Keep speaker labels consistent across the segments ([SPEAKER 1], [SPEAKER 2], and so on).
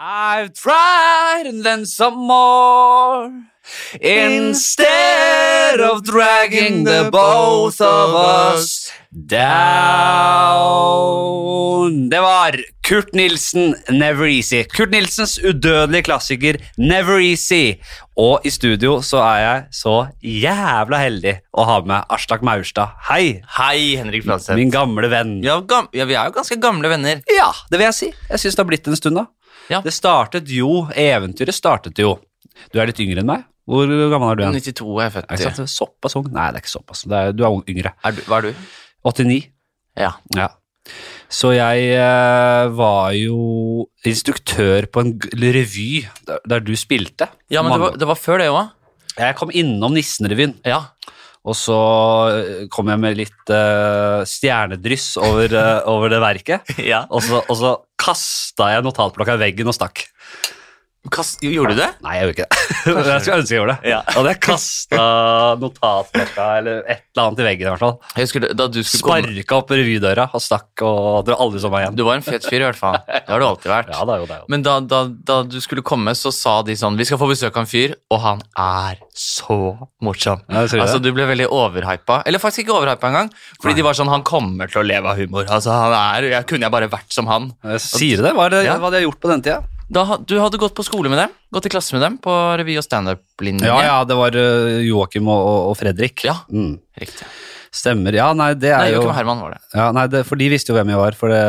[SPEAKER 1] I've tried and then some more. Instead of dragging the both of us down. Det var Kurt Nilsen, Never Easy. Kurt Nilsens udødelige klassiker Never Easy. Og i studio så er jeg så jævla heldig å ha med Aslak Maurstad. Hei,
[SPEAKER 2] Hei, Henrik Fladseth.
[SPEAKER 1] min gamle venn.
[SPEAKER 2] ja, gam ja, vi er jo ganske gamle venner.
[SPEAKER 1] Ja, det vil jeg si. Jeg syns det har blitt en stund, da.
[SPEAKER 2] Ja.
[SPEAKER 1] Det startet jo Eventyret startet jo Du er litt yngre enn meg. Hvor gammel er du igjen?
[SPEAKER 2] 92 er jeg født
[SPEAKER 1] Er
[SPEAKER 2] i.
[SPEAKER 1] ikke sant? Såpass ung? Nei, det er ikke såpass. Det er, du er ung- yngre.
[SPEAKER 2] Er du, hva er du?
[SPEAKER 1] 89.
[SPEAKER 2] Ja.
[SPEAKER 1] Ja. Så jeg eh, var jo instruktør på en g- revy der, der du spilte.
[SPEAKER 2] Ja, men det var, det var før det òg.
[SPEAKER 1] Jeg kom innom Nissenrevyen,
[SPEAKER 2] Ja.
[SPEAKER 1] og så eh, kom jeg med litt eh, stjernedryss over, eh, over det verket.
[SPEAKER 2] ja.
[SPEAKER 1] Og så, og så kasta jeg notatblokka i veggen og stakk.
[SPEAKER 2] Kast, jo, gjorde du det?
[SPEAKER 1] Nei, jeg gjorde ikke det. Men jeg skulle ønske jeg gjorde det.
[SPEAKER 2] Ja.
[SPEAKER 1] Da hadde jeg kasta notatblokka eller et eller annet i veggen. i hvert fall.
[SPEAKER 2] Jeg husker da du skulle komme
[SPEAKER 1] Sparka opp revydøra og stakk, og dere aldri så meg igjen.
[SPEAKER 2] Du var en fet fyr, i hvert fall. Det har du alltid
[SPEAKER 1] Ja,
[SPEAKER 2] vært.
[SPEAKER 1] det altså. er jo det. er jo det.
[SPEAKER 2] Men da, da, da du skulle komme, så sa de sånn Vi skal få besøk av en fyr, og han er så morsom.
[SPEAKER 1] Ja, sier du
[SPEAKER 2] altså,
[SPEAKER 1] det?
[SPEAKER 2] Du ble veldig overhypa. Eller faktisk ikke overhypa engang. Fordi de var sånn Han kommer til å leve av humor. Altså, han er, jeg Kunne jeg bare vært som han?
[SPEAKER 1] Jeg Sier du det? Hva, er det,
[SPEAKER 2] Ja.
[SPEAKER 1] hva hadde jeg gjort på den tida?
[SPEAKER 2] Da, ha- du hadde gått på skole med dem? Gått i klasse med dem på revy- og standup-linjen?
[SPEAKER 1] Ja, ja, det var eh, Joakim og, og- og Fredrik.
[SPEAKER 2] Ja.
[SPEAKER 1] Mm.
[SPEAKER 2] Riktig.
[SPEAKER 1] Stemmer. Ja, nei, det er
[SPEAKER 2] Nei,
[SPEAKER 1] jo
[SPEAKER 2] Joakim og Herman var det.
[SPEAKER 1] ja, nei, det, For de visste jo hvem jeg var. For det,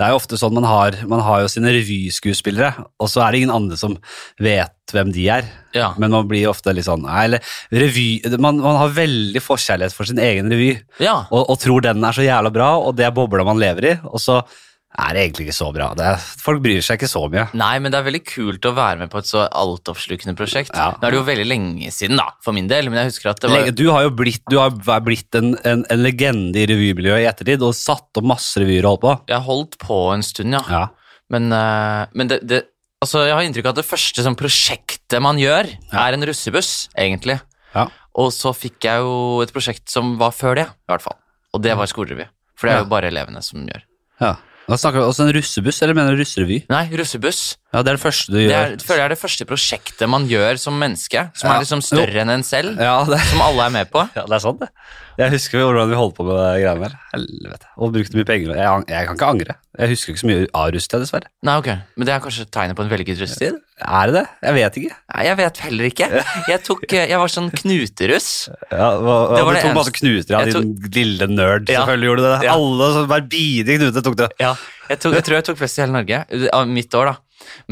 [SPEAKER 1] det er jo ofte sånn man har Man har jo sine revyskuespillere, og så er det ingen andre som vet hvem de er.
[SPEAKER 2] Ja.
[SPEAKER 1] Men man blir ofte litt sånn Nei, eller revy Man, man har veldig forkjærlighet for sin egen revy,
[SPEAKER 2] ja.
[SPEAKER 1] og, og tror den er så jævla bra, og det er bobla man lever i, og så er det egentlig ikke så bra. Det er, folk bryr seg ikke så mye.
[SPEAKER 2] Nei, men det er veldig kult å være med på et så altoppslukende prosjekt.
[SPEAKER 1] Ja.
[SPEAKER 2] Nå er det jo veldig lenge siden, da, for min del, men jeg husker at det var
[SPEAKER 1] Lenge- Du har jo blitt, du har vært- blitt en, en, en legende i revymiljøet i ettertid, og satt opp masse revyer og holdt på.
[SPEAKER 2] Jeg holdt på en stund, ja.
[SPEAKER 1] Ja,
[SPEAKER 2] Men, eh, men det, det Altså, jeg har inntrykk av at det første sånn prosjektet man gjør,
[SPEAKER 1] Ja.
[SPEAKER 2] er en russebuss, egentlig.
[SPEAKER 1] ja.
[SPEAKER 2] Og så fikk jeg jo et prosjekt som var før det, i hvert fall. Og det var skolerevy. For det er jo bare elevene som gjør.
[SPEAKER 1] ja. Da snakker vi også en russebuss, eller mener du russerevy?
[SPEAKER 2] Nei, russebuss.
[SPEAKER 1] Ja, det er det første du
[SPEAKER 2] Det
[SPEAKER 1] gjør.
[SPEAKER 2] er, føler jeg er det første prosjektet man gjør som menneske, som
[SPEAKER 1] Ja.
[SPEAKER 2] er liksom større enn en selv,
[SPEAKER 1] Ja, det er,
[SPEAKER 2] som alle er med på.
[SPEAKER 1] ja, det er sant det. Jeg husker jo hvordan vi holdt på med det greiene der. Helvete. Og brukte mye penger. Jeg, ang- jeg kan ikke angre. Jeg husker ikke så mye av russetida, dessverre.
[SPEAKER 2] Nei, ok. Men det er kanskje tegnet på en velget russetid?
[SPEAKER 1] Er det det? Jeg vet ikke.
[SPEAKER 2] Nei, jeg vet heller ikke. Jeg, tok, eh, jeg var sånn knuteruss.
[SPEAKER 1] Ja, hva,
[SPEAKER 2] Det var
[SPEAKER 1] du
[SPEAKER 2] det
[SPEAKER 1] tok masse
[SPEAKER 2] eneste-
[SPEAKER 1] knuter av
[SPEAKER 2] Jeg
[SPEAKER 1] din lille nerd.
[SPEAKER 2] Ja.
[SPEAKER 1] Selvfølgelig gjorde du det.
[SPEAKER 2] Ja.
[SPEAKER 1] Alle som hver bidige knute tok det.
[SPEAKER 2] Ja, jeg, tok, jeg tror jeg tok flest i hele Norge. eh, Av mitt år, da.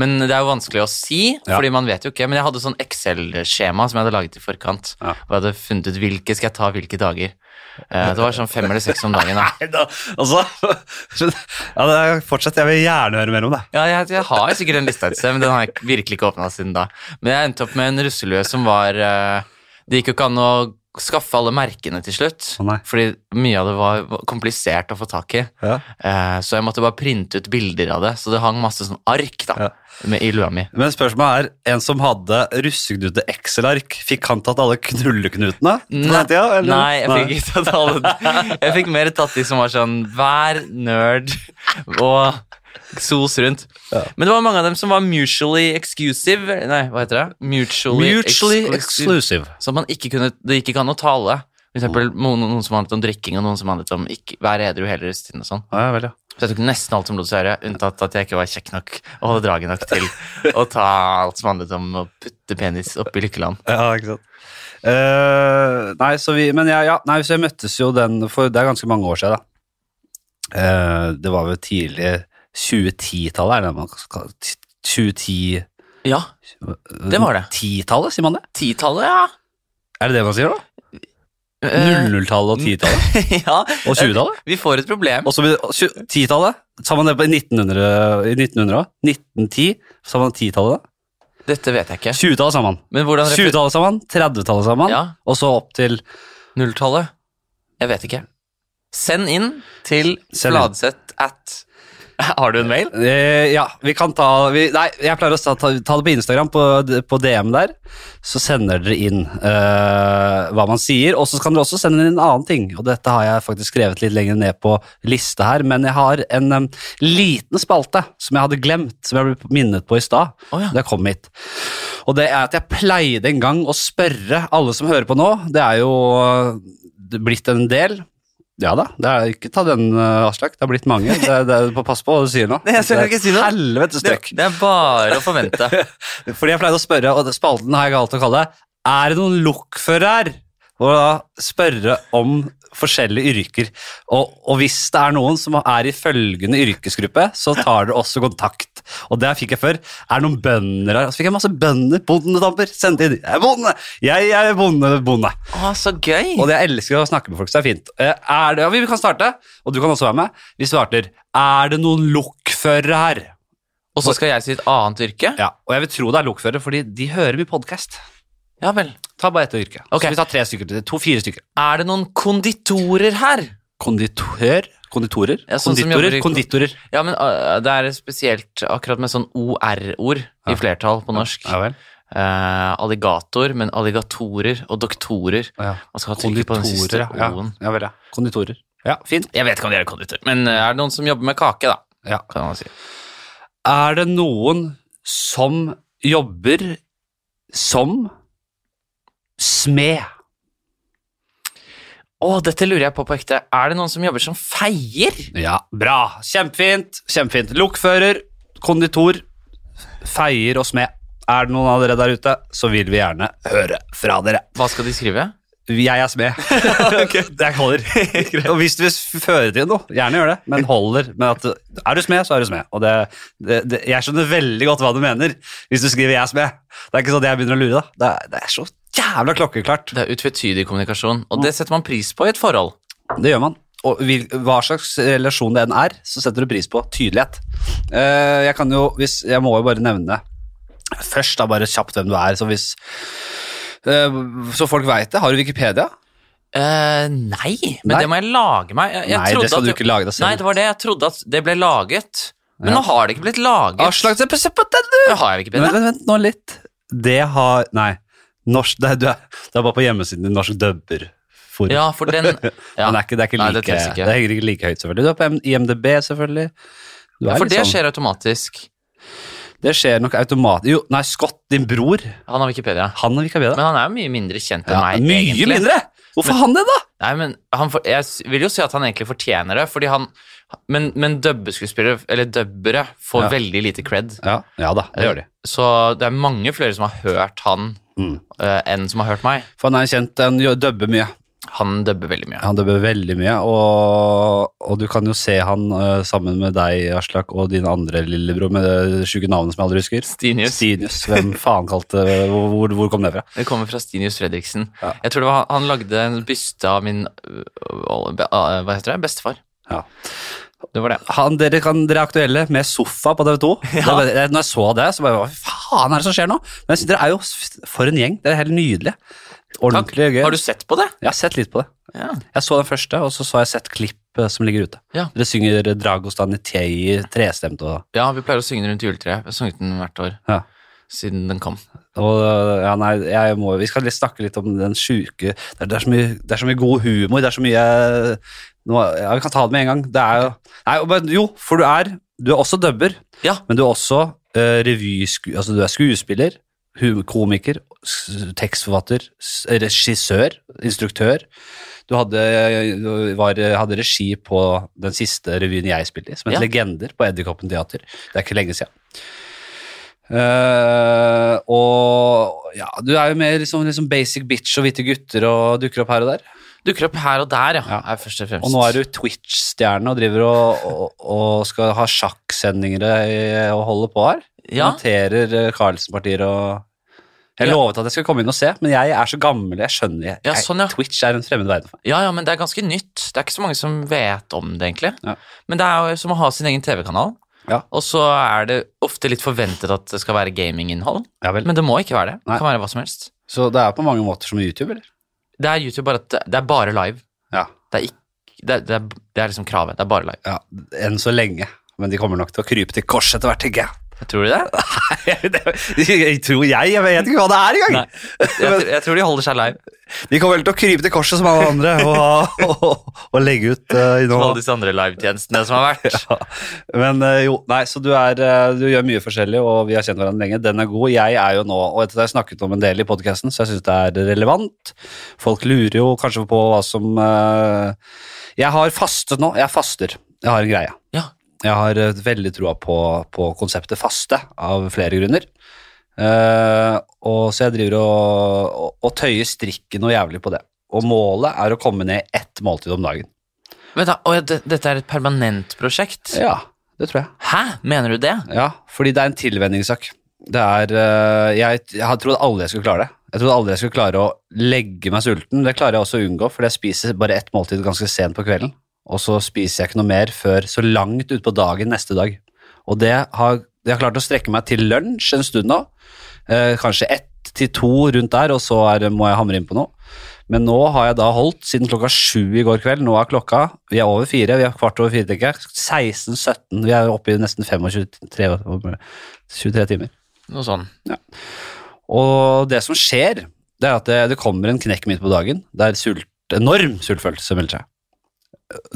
[SPEAKER 2] Men det er jo vanskelig å si,
[SPEAKER 1] Ja.
[SPEAKER 2] fordi man vet jo ikke. Men jeg hadde sånn Excel-skjema som jeg hadde laget i forkant.
[SPEAKER 1] Ja.
[SPEAKER 2] Og jeg hadde funnet ut hvilke skal jeg ta hvilke dager. Eh, Det var sånn fem eller seks om dagen. da.
[SPEAKER 1] Nei, da, altså ja, det- Fortsett, jeg vil gjerne høre mer om det.
[SPEAKER 2] Ja, jeg, jeg har sikkert en liste et sted, men den har jeg virkelig ikke åpna siden da. Men jeg endte opp med en russelue som var eh, Det gikk jo ikke an å skaffe alle merkene til slutt.
[SPEAKER 1] Å, nei.
[SPEAKER 2] Fordi mye av det var var komplisert å få tak i. Eh, Så jeg måtte bare printe ut bilder av det. Så det hang masse sånn ark da,
[SPEAKER 1] Ja.
[SPEAKER 2] med, i lua mi.
[SPEAKER 1] Men spørsmålet er, en som hadde russeknute Excel-ark, fikk han tatt alle knulleknutene? på den
[SPEAKER 2] Nei,
[SPEAKER 1] tida, eller?
[SPEAKER 2] nei, jeg fikk ikke tatt alle Jeg fikk mer tatt de som var sånn Vær nerd og sos rundt. Men det var mange av dem som var mutually exclusive. Nei, hva heter det? Mutually,
[SPEAKER 1] Mutually exclusive.
[SPEAKER 2] Så man ikke kunne, det gikk ikke an å tale. For eksempel noen, noen som handlet om drikking, og noen som handlet om ikke være edru hele tiden. og sånn.
[SPEAKER 1] Ja, vel, ja.
[SPEAKER 2] Så jeg tok nesten alt som lot seg gjøre, unntatt at jeg ikke var kjekk nok og hadde draget nok til å ta alt som handlet om å putte penis oppi lykkeland.
[SPEAKER 1] Ja, ikke sant. Eh, nei, så vi, men ja, ja, nei, så jeg møttes jo den for det er ganske mange år siden, da. Eh, det var vel tidlig 2010-tallet, er det man skal 2010
[SPEAKER 2] Ja, Det var det.
[SPEAKER 1] 10-tallet, sier man det?
[SPEAKER 2] titallet, ja.
[SPEAKER 1] Er det det man sier, da?
[SPEAKER 2] Eh,
[SPEAKER 1] 00-tallet og 10-tallet?
[SPEAKER 2] ja.
[SPEAKER 1] Og 20-tallet?
[SPEAKER 2] Vi får et problem.
[SPEAKER 1] Og så blir det- tju- 10-tallet, sa man det på i 1900, i 1900 også? 1910, sa man 10-tallet da?
[SPEAKER 2] Dette vet jeg ikke.
[SPEAKER 1] 20-tallet sa man.
[SPEAKER 2] Men hvordan refer-
[SPEAKER 1] 20-tallet sa man, 30-tallet sa man,
[SPEAKER 2] Ja,
[SPEAKER 1] og så opp til
[SPEAKER 2] nulltallet. Jeg vet ikke. Send inn til
[SPEAKER 1] Send inn.
[SPEAKER 2] fladsett at Har du en mail?
[SPEAKER 1] Eh, ja, vi kan ta vi, Nei, jeg pleier å ta, ta, ta det på Instagram, på, på DM der. Så sender dere inn eh, hva man sier. Og så kan dere også sende inn en annen ting. Og dette har jeg faktisk skrevet litt lenger ned på lista her, men jeg har en em, liten spalte som jeg hadde glemt, som jeg ble minnet på i stad
[SPEAKER 2] Å ja.
[SPEAKER 1] da jeg kom hit. Og det er at jeg pleide en gang å spørre alle som hører på nå. Det er jo eh, blitt en del. Ja da, det er ikke ta den, eh, Aslak. Det har blitt mange. Det er, det er, pass på hva du sier nå.
[SPEAKER 2] Nei, jeg skal ikke si noe.
[SPEAKER 1] Helvete
[SPEAKER 2] Det,
[SPEAKER 1] støkk.
[SPEAKER 2] det er bare å forvente.
[SPEAKER 1] Fordi jeg pleide å spørre, og det- spalten har jeg galt å kalle Er det noen lokfører her? Og da spørre om forskjellige yrker. Og, og hvis det er noen som er i følgende yrkesgruppe, så tar dere også kontakt. Og det fikk jeg før. Er det noen bønder her? Og så fikk jeg masse bønder. Bondedamper. Sendte inn. Jeg er bonde! Jeg er bonde, bonde.
[SPEAKER 2] Å, så gøy!
[SPEAKER 1] Og det jeg elsker å snakke med folk, så det er fint. Eh, Er det, ja, vi kan starte, og du kan også være med. Vi starter. Er det noen lokførere her?
[SPEAKER 2] Og så skal jeg si et annet yrke?
[SPEAKER 1] Ja, og jeg vil tro det er lokførere, fordi de hører mye podcast.
[SPEAKER 2] Ja vel.
[SPEAKER 1] Ta bare ett yrke.
[SPEAKER 2] Ok.
[SPEAKER 1] Så vi tar tre stykker til. To-fire stykker.
[SPEAKER 2] Er det noen konditorer her?
[SPEAKER 1] Konditør? Konditorer?
[SPEAKER 2] Ja, sånn som jobber
[SPEAKER 1] konditorer?
[SPEAKER 2] i-
[SPEAKER 1] Konditorer.
[SPEAKER 2] Ja, men øh, det er spesielt akkurat med sånn OR-ord i flertall på norsk.
[SPEAKER 1] Ja vel.
[SPEAKER 2] Eh, alligator, men alligatorer og doktorer.
[SPEAKER 1] Ja.
[SPEAKER 2] Man skal ha trykket på den siste
[SPEAKER 1] Konditorer, ja.
[SPEAKER 2] O-en.
[SPEAKER 1] ja vel, ja. Konditorer. Ja, fint.
[SPEAKER 2] Jeg vet ikke om de er konditor, men øh, er det noen som jobber med kake, da?
[SPEAKER 1] Ja.
[SPEAKER 2] Kan man si.
[SPEAKER 1] Er det noen som jobber som smed?
[SPEAKER 2] Å, dette lurer jeg på på ekte. Er det noen som jobber som feier?
[SPEAKER 1] Ja, bra. Kjempefint. Kjempefint. Lokfører, konditor, feier og smed. Er det noen av dere der ute, så vil vi gjerne høre fra dere.
[SPEAKER 2] Hva skal de skrive?
[SPEAKER 1] Jeg er smed. Det holder. og hvis du vil føre til noe, gjerne gjør det, men holder med at er du smed, så er du smed. Og det, det, det, jeg skjønner veldig godt hva du mener hvis du skriver 'jeg er smed'. Det er ikke sånn at jeg begynner å lure, da. Det er, det er så jævla klokkeklart.
[SPEAKER 2] Det er utvetydig kommunikasjon, og det setter man pris på i et forhold.
[SPEAKER 1] Det gjør man. Og hvil, hva slags relasjon det enn er, så setter du pris på tydelighet. Eh, jeg kan jo, hvis, jeg må jo bare nevne først da bare kjapt hvem du er, så hvis eh, Så folk veit det. Har du Wikipedia?
[SPEAKER 2] Eh, nei, men
[SPEAKER 1] Nei?
[SPEAKER 2] det må jeg lage meg. Jeg, jeg
[SPEAKER 1] Nei,
[SPEAKER 2] trodde
[SPEAKER 1] det skal
[SPEAKER 2] at
[SPEAKER 1] du ikke lage deg selv.
[SPEAKER 2] Nei, det var det. Jeg trodde at det ble laget. Men
[SPEAKER 1] Ja.
[SPEAKER 2] nå har det ikke blitt laget.
[SPEAKER 1] Aslak, se på se på den, du!
[SPEAKER 2] Det har jeg ikke
[SPEAKER 1] Vent,
[SPEAKER 2] bedre.
[SPEAKER 1] vent, vent nå litt. Det har Nei. Norsk, det, er, du er, det er bare på hjemmesiden din Norsk Dubberforum.
[SPEAKER 2] Ja, for den ja.
[SPEAKER 1] Men det er ikke, det er ikke,
[SPEAKER 2] Nei,
[SPEAKER 1] like,
[SPEAKER 2] det
[SPEAKER 1] det
[SPEAKER 2] telles ikke.
[SPEAKER 1] er ikke like høyt, selvfølgelig. Du er på M- IMDb, selvfølgelig. Du er
[SPEAKER 2] For
[SPEAKER 1] litt
[SPEAKER 2] det
[SPEAKER 1] sånn-
[SPEAKER 2] skjer automatisk.
[SPEAKER 1] det skjer nok automatisk Jo, nei, Scott, din bror,
[SPEAKER 2] Han har Wikipedia.
[SPEAKER 1] han har Wikipedia.
[SPEAKER 2] Men han er jo mye mindre kjent enn
[SPEAKER 1] Ja,
[SPEAKER 2] meg.
[SPEAKER 1] mye
[SPEAKER 2] egentlig.
[SPEAKER 1] mindre! Hvorfor han det, da?
[SPEAKER 2] Nei, men han for, Jeg s- vil jo si at han egentlig fortjener det, fordi han Men, men dubbeskuespillere, eller dubbere, får
[SPEAKER 1] Ja.
[SPEAKER 2] veldig lite cred.
[SPEAKER 1] Ja, da, det gjør de.
[SPEAKER 2] Så det er mange flere som har hørt han
[SPEAKER 1] Mm.
[SPEAKER 2] eh, enn som har hørt meg.
[SPEAKER 1] For han er kjent, han gjør- dubber mye.
[SPEAKER 2] Han dubber veldig mye.
[SPEAKER 1] Han dubber veldig mye, og, og du kan jo se han eh, sammen med deg, Aslak, og din andre lillebror med det sjuke navnet som jeg aldri husker.
[SPEAKER 2] Stinius.
[SPEAKER 1] Stinius. Hvem faen kalte hvor, hvor, hvor kom det fra?
[SPEAKER 2] Det kommer fra Stinius Fredriksen.
[SPEAKER 1] Ja.
[SPEAKER 2] Jeg tror det var Han han lagde en byste av min øh, øh, be- øh, Hva heter det? Bestefar.
[SPEAKER 1] Ja.
[SPEAKER 2] Det var det.
[SPEAKER 1] Han, dere, kan, dere er aktuelle med sofa på TV 2. eh, Når jeg så det, så bare Hva faen er det som skjer nå? Men jeg synes dere er jo s- For en gjeng. Dere er helt nydelige.
[SPEAKER 2] Takk.
[SPEAKER 1] Ordentlig gøy.
[SPEAKER 2] Har du sett på det?
[SPEAKER 1] Jeg har sett litt på det.
[SPEAKER 2] Ja.
[SPEAKER 1] Jeg så den første, og så så jeg sett klipp eh, som ligger ute.
[SPEAKER 2] Ja.
[SPEAKER 1] Dere synger Dragostan i Tei, trestemt og
[SPEAKER 2] vi pleier å synge den rundt juletreet. Vi har sunget den hvert år
[SPEAKER 1] Ja.
[SPEAKER 2] siden den kom.
[SPEAKER 1] Og eh, ja, nei, jeg må, Vi skal litt snakke litt om den sjuke det, er- det, er så mye- det er så mye god humor, det er så mye nå, Ja, vi kan ta det med en gang. Det er jo Nei, men jo, for du er Du er også dubber,
[SPEAKER 2] Ja.
[SPEAKER 1] men du er også eh, revysku... Altså, du er skuespiller, hum- komiker, s- tekstforfatter, s- regissør, instruktør. Du hadde, du var, hadde regi på den siste revyen jeg spilte i, som het
[SPEAKER 2] Ja.
[SPEAKER 1] Legender på Edderkoppen teater. Det er ikke lenge siden. Eh, og ja, du er jo mer liksom, liksom basic bitch og hvite gutter og dukker opp her og der.
[SPEAKER 2] Dukker opp her og der, ja.
[SPEAKER 1] Ja.
[SPEAKER 2] Er først og fremst.
[SPEAKER 1] Og nå er du Twitch-stjerne og driver og, og, og skal ha sjakksendinger i- og holder på her.
[SPEAKER 2] Ja.
[SPEAKER 1] Noterer eh, Carlsen-partier og Jeg
[SPEAKER 2] Ja.
[SPEAKER 1] lovet at jeg skulle komme inn og se, men jeg er så gammel, jeg skjønner jeg,
[SPEAKER 2] Ja, sånn, ja.
[SPEAKER 1] jeg, Twitch er en fremmed verden for meg.
[SPEAKER 2] ja, ja, men det er ganske nytt. Det er ikke så mange som vet om det, egentlig.
[SPEAKER 1] Ja.
[SPEAKER 2] Men det er jo som å ha sin egen TV-kanal.
[SPEAKER 1] Ja.
[SPEAKER 2] Og så er det ofte litt forventet at det skal være gaminginnhold.
[SPEAKER 1] Ja vel.
[SPEAKER 2] Men det må ikke være det. Det
[SPEAKER 1] Nei.
[SPEAKER 2] kan være hva som helst.
[SPEAKER 1] Så det er på mange måter som YouTube, eller?
[SPEAKER 2] Det er YouTube, bare at det- det er bare live.
[SPEAKER 1] Ja.
[SPEAKER 2] Det er, ikk- det, er- det, er, det er liksom kravet. Det er bare live.
[SPEAKER 1] ja. Enn så lenge. men de kommer nok til å krype til kors etter hvert, tenker jeg.
[SPEAKER 2] Tror du det?
[SPEAKER 1] Det tror jeg, jeg vet ikke hva det er engang.
[SPEAKER 2] Nei. Jeg, jeg tror de holder seg live.
[SPEAKER 1] De kommer vel til å krype til korset som alle andre og, og, og legge ut uh,
[SPEAKER 2] Som alle
[SPEAKER 1] innhold.
[SPEAKER 2] disse andre livetjenestene som har vært.
[SPEAKER 1] Ja. Men eh, jo, nei, så du, er, eh, du gjør mye forskjellig, og vi har kjent hverandre lenge. Den er god. Jeg er jo nå, og etter det har jeg snakket om en del i podkasten, så jeg syns det er relevant. Folk lurer jo kanskje på hva som eh, Jeg har fastet nå. Jeg faster. Jeg har en greie.
[SPEAKER 2] Ja.
[SPEAKER 1] Jeg har eh, veldig troa på, på konseptet faste, av flere grunner. Eh, og så jeg driver og, og, og tøyer strikken noe jævlig på det. Og målet er å komme ned i ett måltid om dagen.
[SPEAKER 2] Vent da, oi, det, Dette er et permanent prosjekt?
[SPEAKER 1] Ja, det tror jeg.
[SPEAKER 2] Hæ? Mener du det?
[SPEAKER 1] Ja, fordi det er en tilvenningssak. Det er, eh, jeg, jeg har trodd aldri jeg skulle klare det. Jeg trodde aldri jeg skulle klare å legge meg sulten. Det klarer jeg også å unngå, fordi jeg spiser bare ett måltid ganske sent på kvelden. Og så spiser jeg ikke noe mer før så langt utpå dagen neste dag. Og det har, jeg har klart å strekke meg til lunsj en stund nå. Eh, kanskje ett til to rundt der, og så er, må jeg hamre inn på noe. Men nå har jeg da holdt siden klokka sju i går kveld. Nå er klokka Vi er over fire. Vi er kvart over fire, tenker jeg. 16-17. Vi er oppe i nesten 25 23, 23 timer.
[SPEAKER 2] Noe sånn.
[SPEAKER 1] Og det som skjer, det er at det, det kommer en knekk midt på dagen. Det er sult, enorm sultfølelse som melder seg.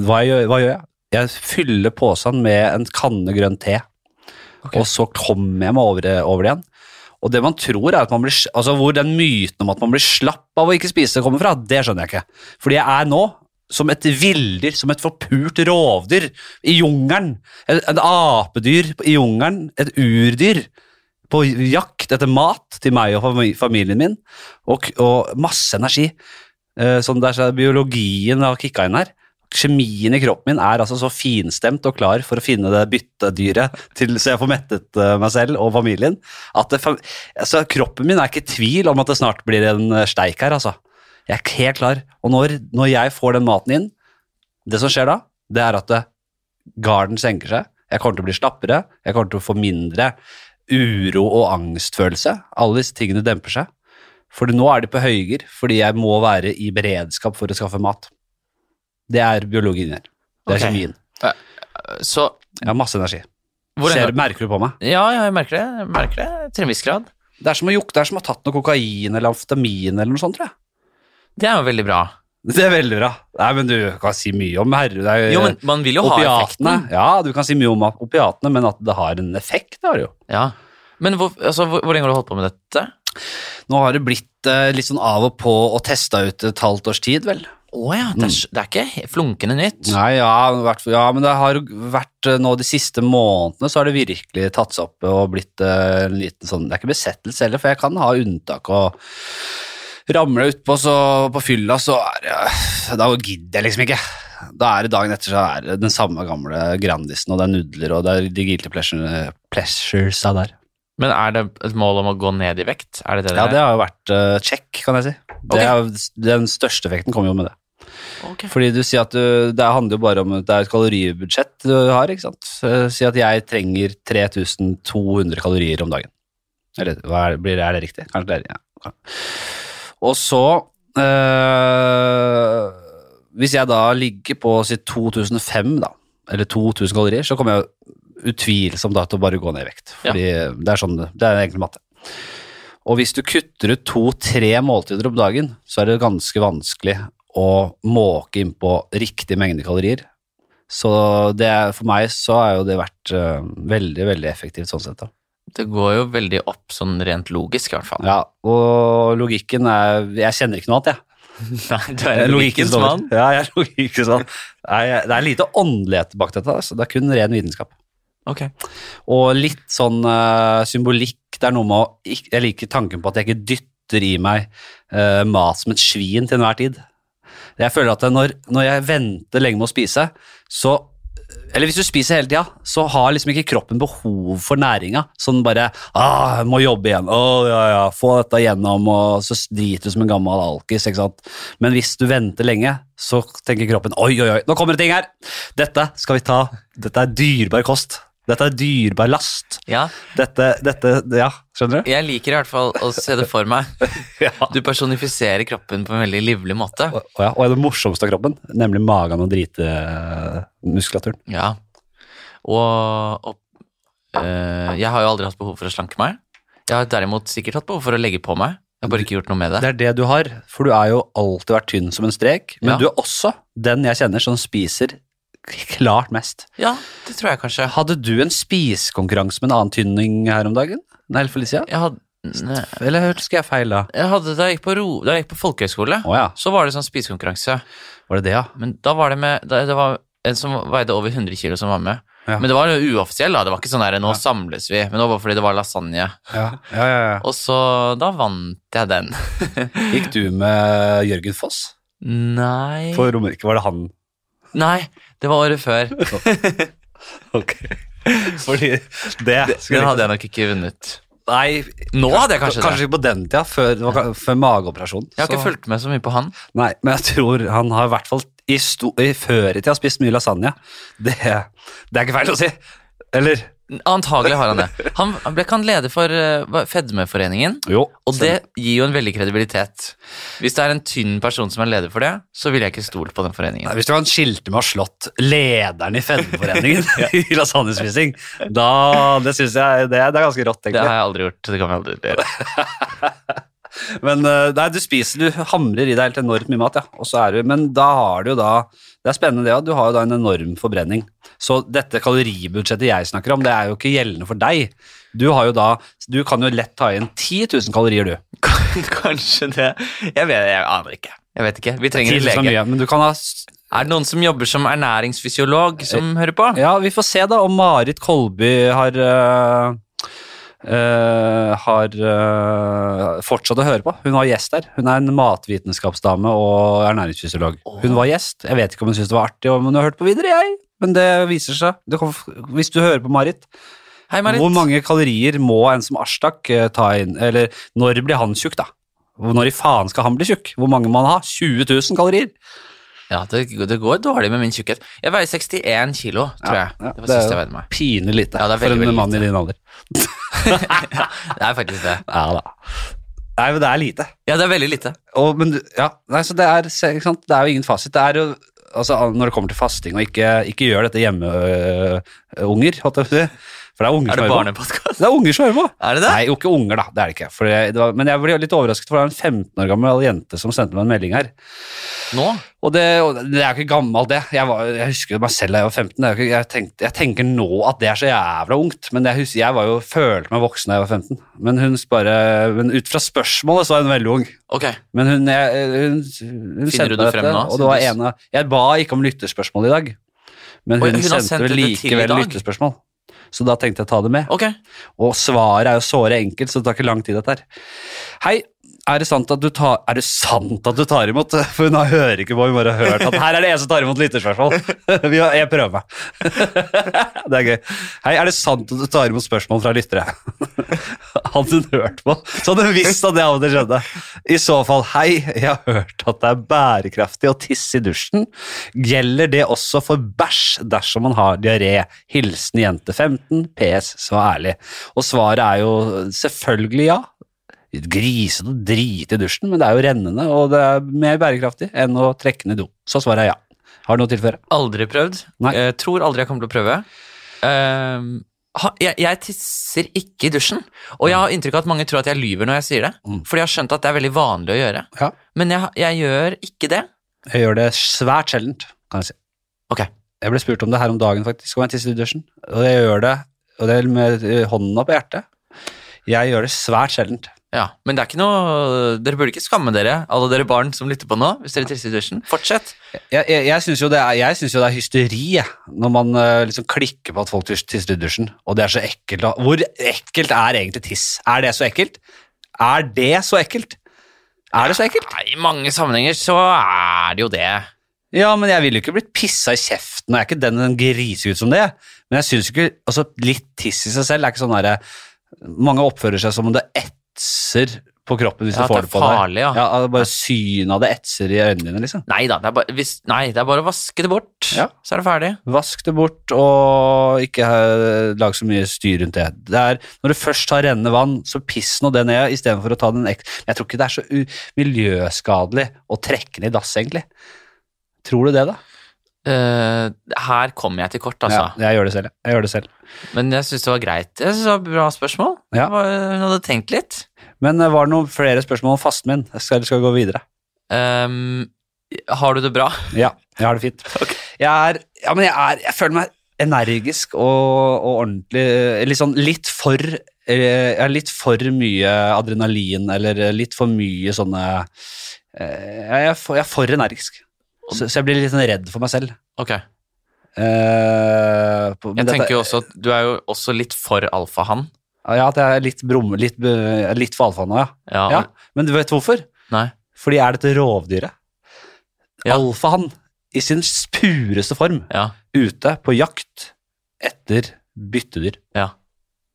[SPEAKER 1] Hva gjør, hva gjør jeg? Jeg fyller posen med en kanne grønn te,
[SPEAKER 2] Ok.
[SPEAKER 1] og så kommer jeg meg over, det- over det igjen. Og det man tror er at man blir, s- altså hvor den myten om at man blir slapp av å ikke spise kommer fra, det skjønner jeg ikke. Fordi jeg er nå som et villdyr, som et forpult rovdyr i jungelen. En, en apedyr i jungelen, et urdyr på jakt etter mat til meg og fami- familien min, og, og masse energi. Eh, Sånn der, så er biologien har kicka inn her. Kjemien i kroppen min er altså så finstemt og klar for å finne det byttedyret til, så jeg får mettet eh, meg selv og familien. At det, fa- altså, kroppen min er ikke i tvil om at det snart blir en eh, steik her, altså. Jeg er ikke helt klar. Og når, når jeg får den maten inn, det som skjer da, det er at det, garden senker seg. Jeg kommer til å bli slappere. Jeg kommer til å få mindre uro og angstfølelse. Alle disse tingene demper seg. For nå er de på høyger, fordi jeg må være i beredskap for å skaffe mat. Det er biologien her. Det er
[SPEAKER 2] Ok.
[SPEAKER 1] kjemien.
[SPEAKER 2] Så
[SPEAKER 1] Jeg har masse energi.
[SPEAKER 2] hvor
[SPEAKER 1] Ser,
[SPEAKER 2] ender-
[SPEAKER 1] merker du på meg?
[SPEAKER 2] Ja, ja, jeg merker det. Jeg merker det Til en viss grad.
[SPEAKER 1] Det er som å jukte, det er som å ha tatt noe kokain eller amfetamin eller noe sånt, tror jeg.
[SPEAKER 2] Det er jo veldig bra.
[SPEAKER 1] Det er veldig bra. Nei, men du kan si mye om herre... det er-
[SPEAKER 2] Jo, men man vil jo ha
[SPEAKER 1] Eh, opiatene.
[SPEAKER 2] effekten.
[SPEAKER 1] Ja, du kan si mye om opiatene, men at det har en effekt, det har det jo.
[SPEAKER 2] Ja. Men hvor, altså, hvor, hvor lenge har du holdt på med dette?
[SPEAKER 1] Nå har det blitt eh, litt sånn av og på og testa ut et halvt års tid, vel.
[SPEAKER 2] Å ja, det er, s- det er ikke he- flunkende nytt.
[SPEAKER 1] Mm. Nei, ja, i hvert fall- ja, men det har vært eh, nå de siste månedene så har det virkelig tatt seg opp og blitt eh, en liten sånn Det er ikke besettelse heller, for jeg kan ha unntak og ramler jeg utpå så på fylla, så er jeg Da gidder jeg liksom ikke. Da er det dagen etter så er det den samme gamle Grandisen, og det er nudler, og det er de guilty pleasure- pleasures av der.
[SPEAKER 2] Men er det et mål om å gå ned i vekt? Er det det
[SPEAKER 1] Ja,
[SPEAKER 2] det
[SPEAKER 1] det
[SPEAKER 2] er?
[SPEAKER 1] har jo vært eh, check, kan jeg si.
[SPEAKER 2] Ok.
[SPEAKER 1] Det er, den største effekten kommer jo med det.
[SPEAKER 2] Ok.
[SPEAKER 1] Fordi du sier at du, det handler jo bare om at det er et kaloribudsjett du har, ikke sant? Eh, Si at jeg trenger 3200 kalorier om dagen. Eller hva er, blir det, er det riktig? Kanskje det er ja. ok. Og så eh, Hvis jeg da ligger på si 2005, da, eller 2000 kalorier, så kommer jeg utvilsomt da til å bare gå ned i vekt.
[SPEAKER 2] Ja.
[SPEAKER 1] Fordi det er sånn det Det er egentlig matte. Og hvis du kutter ut to-tre måltider om dagen, så er det ganske vanskelig å måke innpå riktig mengde kalorier. Så det, er- for meg så har jo det vært eh, veldig, veldig effektivt sånn sett. da.
[SPEAKER 2] Det går jo veldig opp sånn rent logisk, i hvert fall.
[SPEAKER 1] Ja, og logikken er Jeg kjenner ikke noe annet, jeg.
[SPEAKER 2] Nei, du
[SPEAKER 1] Jeg
[SPEAKER 2] er
[SPEAKER 1] er
[SPEAKER 2] en logikkens
[SPEAKER 1] Eh, logikkens
[SPEAKER 2] mann.
[SPEAKER 1] Ja, jeg er logikkens mann. Nei, jeg- Det er lite åndelighet bak dette, altså. det er kun ren vitenskap.
[SPEAKER 2] Ok.
[SPEAKER 1] Og litt sånn eh, symbolikk. Det er noe med å ikk- Jeg liker tanken på at jeg ikke dytter i meg eh, mat som et svin til enhver tid. Jeg føler at det når, når jeg venter lenge med å spise, så eller hvis du spiser hele tida, så har liksom ikke kroppen behov for næringa. Sånn bare ah, jeg 'Må jobbe igjen. Å, ja, ja. Få dette igjennom.' Og så driter du som en gammel alkis. ikke sant? Men hvis du venter lenge, så tenker kroppen 'Oi, oi, oi, nå kommer det ting her!' Dette skal vi ta. Dette er dyrebar kost. Dette er dyrebar last.
[SPEAKER 2] Ja,
[SPEAKER 1] Dette, dette Ja, skjønner du?
[SPEAKER 2] jeg liker i hvert fall å se det for meg.
[SPEAKER 1] Ja.
[SPEAKER 2] Du personifiserer kroppen på en veldig livlig måte.
[SPEAKER 1] Og, og ja, og det morsomste av kroppen, nemlig magen og dritemuskulaturen.
[SPEAKER 2] Ja. Og, og eh, jeg har jo aldri hatt behov for å slanke meg. Jeg har derimot sikkert hatt behov for å legge på meg. Jeg har bare ikke gjort noe med det.
[SPEAKER 1] Det er det du har, for du er jo alltid vært tynn som en strek, men
[SPEAKER 2] Ja.
[SPEAKER 1] du er også den jeg kjenner som spiser klart mest.
[SPEAKER 2] Ja, det tror jeg kanskje.
[SPEAKER 1] Hadde du en spisekonkurranse med en annen tynning her om dagen? Nei, eller Felicia?
[SPEAKER 2] Jeg hadde,
[SPEAKER 1] Eller hørte skal jeg feil da?
[SPEAKER 2] jeg hadde da jeg gikk på, ro, da jeg gikk på folkehøyskole,
[SPEAKER 1] Å ja,
[SPEAKER 2] så var det sånn spisekonkurranse.
[SPEAKER 1] var det det ja?
[SPEAKER 2] Men da var det med da, Det var en som veide over 100 kilo som var med.
[SPEAKER 1] Ja.
[SPEAKER 2] Men det var jo uoffisiell, da. Det var ikke sånn der, nå samles vi. Men det var bare fordi det var lasagne.
[SPEAKER 1] Ja, ja, ja. ja.
[SPEAKER 2] Og så Da vant jeg den.
[SPEAKER 1] Gikk du med Jørgen Foss?
[SPEAKER 2] Nei
[SPEAKER 1] På Romerike var det han.
[SPEAKER 2] Nei, det var året før.
[SPEAKER 1] Ok. Fordi det,
[SPEAKER 2] Den hadde jeg nok ikke vunnet.
[SPEAKER 1] Nei,
[SPEAKER 2] Nå hadde jeg kanskje,
[SPEAKER 1] kanskje ikke på den tida, før, det var ka- før mageoperasjonen.
[SPEAKER 2] det. Jeg har
[SPEAKER 1] så-
[SPEAKER 2] ikke fulgt med så mye på han.
[SPEAKER 1] Nei, men jeg tror han har i hvert fall i sto i før i tida spist mye lasagne. Det, det er ikke feil å si. Eller?
[SPEAKER 2] Antagelig har han det. Han ble ikke han leder for eh, hva- Fedmeforeningen,
[SPEAKER 1] Jo.
[SPEAKER 2] og det gir jo en veldig kredibilitet. Hvis det er en tynn person som er leder for det, så ville jeg ikke stolt på den
[SPEAKER 1] Nei,
[SPEAKER 2] foreningen.
[SPEAKER 1] hvis du kan skilte med å ha slått lederen i Fedmeforeningen i lasagnespising, da Det syns jeg det, det er ganske rått,
[SPEAKER 2] Det
[SPEAKER 1] egentlig.
[SPEAKER 2] har jeg aldri gjort. Det kan vi aldri gjøre.
[SPEAKER 1] Men eh, nei, du spiser, du hamrer i deg helt enormt mye mat, ja. Og så er du Men da har du jo da Det er spennende, det òg. Du har jo da en enorm forbrenning. Så dette kaloribudsjettet jeg snakker om, det er jo ikke gjeldende for deg. Du har jo da Du kan jo lett ta inn 10 000 kalorier, du.
[SPEAKER 2] Kanskje det. Jeg, vet, jeg aner ikke. Jeg vet ikke. Vi trenger en
[SPEAKER 1] Tidlig så
[SPEAKER 2] lege.
[SPEAKER 1] mye, men du kan ha s-
[SPEAKER 2] Er det noen som jobber som ernæringsfysiolog som hører på?
[SPEAKER 1] Ja, vi får se da om Marit Kolby har øh, øh, har øh, fortsatt å høre på. Hun var gjest der. Hun er en matvitenskapsdame og ernæringsfysiolog. Hun var gjest. Jeg vet ikke om hun syntes det var artig, om hun har hørt på videre, jeg. Men det viser seg. Du kan, f- hvis du hører på Marit,
[SPEAKER 2] Hei, Marit.
[SPEAKER 1] hvor mange kalorier må en som Arstak eh, ta inn? Eller når blir han tjukk, da? Når i faen skal han bli tjukk? Hvor mange må han ha? 20 000 kalorier?
[SPEAKER 2] Ja, det, det går dårlig med min tjukkhet. Jeg veier 61 kilo, tror
[SPEAKER 1] Ja,
[SPEAKER 2] jeg.
[SPEAKER 1] ja,
[SPEAKER 2] det var
[SPEAKER 1] det er
[SPEAKER 2] sist
[SPEAKER 1] jo-
[SPEAKER 2] jeg veide meg.
[SPEAKER 1] Pinlig lite
[SPEAKER 2] Ja, det er
[SPEAKER 1] for
[SPEAKER 2] veldig,
[SPEAKER 1] en
[SPEAKER 2] veldig
[SPEAKER 1] mann i din alder.
[SPEAKER 2] Det er faktisk det.
[SPEAKER 1] Ja da. Nei, men det er lite.
[SPEAKER 2] Ja, det er veldig lite.
[SPEAKER 1] Og, men, du- ja, nei, så det, er, se- ikke sant? det er jo ingen fasit. Det er jo, altså, når det kommer til fasting, og ikke, ikke gjør dette hjemme, øh, unger, holdt jeg på å si. For det er unger
[SPEAKER 2] Er
[SPEAKER 1] som
[SPEAKER 2] det
[SPEAKER 1] hører på.
[SPEAKER 2] barnepodkast?
[SPEAKER 1] Det er unger som hører på.
[SPEAKER 2] Er det det?
[SPEAKER 1] Nei, jo ikke unger, da. Det er det ikke. For jeg, det var, men jeg ble litt overrasket, for det er en 15 år gammel jente som sendte meg en melding her.
[SPEAKER 2] Nå?
[SPEAKER 1] Og det, og det er jo ikke gammelt, det. Jeg, var, jeg husker jo meg selv da jeg var 15. Det er jo ikke, jeg, tenkte, jeg tenker nå at det er så jævla ungt, men jeg, husker, jeg var jo, følte meg voksen da jeg var 15. Men, hun bare, men ut fra spørsmålet så er hun veldig ung.
[SPEAKER 2] Ok.
[SPEAKER 1] Men hun, jeg, hun, hun
[SPEAKER 2] Finner
[SPEAKER 1] sendte
[SPEAKER 2] du det
[SPEAKER 1] meg
[SPEAKER 2] frem
[SPEAKER 1] dette,
[SPEAKER 2] nå,
[SPEAKER 1] og det var
[SPEAKER 2] Sindus?
[SPEAKER 1] en av Jeg ba ikke om lytterspørsmål i dag, men
[SPEAKER 2] Oi,
[SPEAKER 1] hun,
[SPEAKER 2] hun har sendt
[SPEAKER 1] sendte vel
[SPEAKER 2] dette til i
[SPEAKER 1] likevel
[SPEAKER 2] dag?
[SPEAKER 1] lytterspørsmål. Så da tenkte jeg å ta det med.
[SPEAKER 2] Ok.
[SPEAKER 1] Og svaret er jo såre enkelt, så det tar ikke lang tid dette her. Hei, er det sant at du tar, er det sant at du tar imot? For hun har- hører ikke på, hun bare har hørt at her er det en som tar imot lytterspørsmål. Vi har, jeg prøver meg. Det er gøy. Hei, er det sant at du tar imot spørsmål fra lyttere? Hadde hun hørt på, så hadde hun visst at det av og til skjedde. I så fall, hei, jeg har hørt at det er bærekraftig å tisse i dusjen. Gjelder det også for bæsj dersom man har diaré? Hilsen jente 15, PS, så ærlig. Og svaret er jo selvfølgelig ja. Grisete og drit i dusjen, men det er jo rennende, og det er mer bærekraftig enn å trekke ned do. Så svaret er ja. Har du noe å tilføre?
[SPEAKER 2] Aldri prøvd.
[SPEAKER 1] Nei.
[SPEAKER 2] Jeg tror aldri jeg kommer til å prøve. Ehm, ha, jeg, jeg tisser ikke i dusjen. Og jeg har inntrykk av at mange tror at jeg lyver når jeg sier det.
[SPEAKER 1] Mm.
[SPEAKER 2] Fordi jeg har skjønt at det er veldig vanlig å gjøre.
[SPEAKER 1] Ja.
[SPEAKER 2] Men jeg, jeg gjør ikke det.
[SPEAKER 1] Jeg gjør det svært sjeldent, kan jeg si.
[SPEAKER 2] Ok.
[SPEAKER 1] Jeg ble spurt om det her om dagen, faktisk, om jeg tisser i dusjen. Og jeg gjør det, og det er med eh, hånda på hjertet. Jeg gjør det svært sjeldent.
[SPEAKER 2] Ja, Men det er ikke noe Dere burde ikke skamme dere, alle dere barn som lytter på nå, hvis dere tisser i dusjen. Fortsett.
[SPEAKER 1] Jeg, jeg, jeg syns jo, det er- jeg synes jo det er hysteri jeg, når man eh, liksom klikker på at folk tis- tisser i dusjen, og det er så ekkelt. da. Hvor ekkelt er egentlig tiss? Er det så ekkelt? Er det så ekkelt? Er det så ekkelt?
[SPEAKER 2] Nei, I mange sammenhenger så er det jo det.
[SPEAKER 1] Ja, men jeg ville jo ikke blitt pissa i kjeften, og jeg er ikke den, den grisegutt som det. Men jeg synes jo ikke altså, Litt tiss i seg selv er ikke sånn derre Mange oppfører seg som om det etser på kroppen hvis
[SPEAKER 2] Ja,
[SPEAKER 1] du
[SPEAKER 2] at
[SPEAKER 1] får
[SPEAKER 2] det
[SPEAKER 1] det,
[SPEAKER 2] er
[SPEAKER 1] på deg.
[SPEAKER 2] farlig, ja.
[SPEAKER 1] at bare synet av det etser i øynene dine, liksom.
[SPEAKER 2] Nei da, det er bare, hvis, nei, det er bare å vaske det bort,
[SPEAKER 1] Ja.
[SPEAKER 2] så er det ferdig.
[SPEAKER 1] Vask det bort, og ikke eh, lag så mye styr rundt det. det er, når du først har rennende vann, så piss nå det ned istedenfor å ta den ekstra Jeg tror ikke det er så u miljøskadelig å trekke ned i dass, egentlig. Tror du det, da?
[SPEAKER 2] eh, her kommer jeg til kort, altså.
[SPEAKER 1] Ja, jeg gjør det selv. jeg. Jeg gjør det selv.
[SPEAKER 2] Men jeg syns det var greit. Jeg synes det var et Bra spørsmål.
[SPEAKER 1] Ja.
[SPEAKER 2] Det var- Hun hadde tenkt litt.
[SPEAKER 1] Men eh, var det noen flere spørsmål om fasten min? Jeg skal, skal vi gå videre.
[SPEAKER 2] Ehm, har du det bra?
[SPEAKER 1] Ja, jeg har det fint. Jeg er, ja, men jeg er, jeg føler meg energisk og, og ordentlig, eh, litt sånn litt for, eh, jeg har litt for mye adrenalin, eller eh, litt for mye sånne, eh, jeg er for, jeg er for energisk. Så, så jeg blir litt sånn redd for meg selv.
[SPEAKER 2] Ok.
[SPEAKER 1] Eh, på- men
[SPEAKER 2] Jeg
[SPEAKER 1] dette-
[SPEAKER 2] tenker jo også at du er jo også litt for alfahann.
[SPEAKER 1] Ja, at jeg er litt, brum, litt, be- litt for alfa nå, ja.
[SPEAKER 2] Ja.
[SPEAKER 1] ja. Men du vet hvorfor?
[SPEAKER 2] Nei.
[SPEAKER 1] Fordi jeg er dette rovdyret.
[SPEAKER 2] Ja.
[SPEAKER 1] Alfahann i sin pureste form
[SPEAKER 2] Ja.
[SPEAKER 1] ute på jakt etter byttedyr.
[SPEAKER 2] Ja.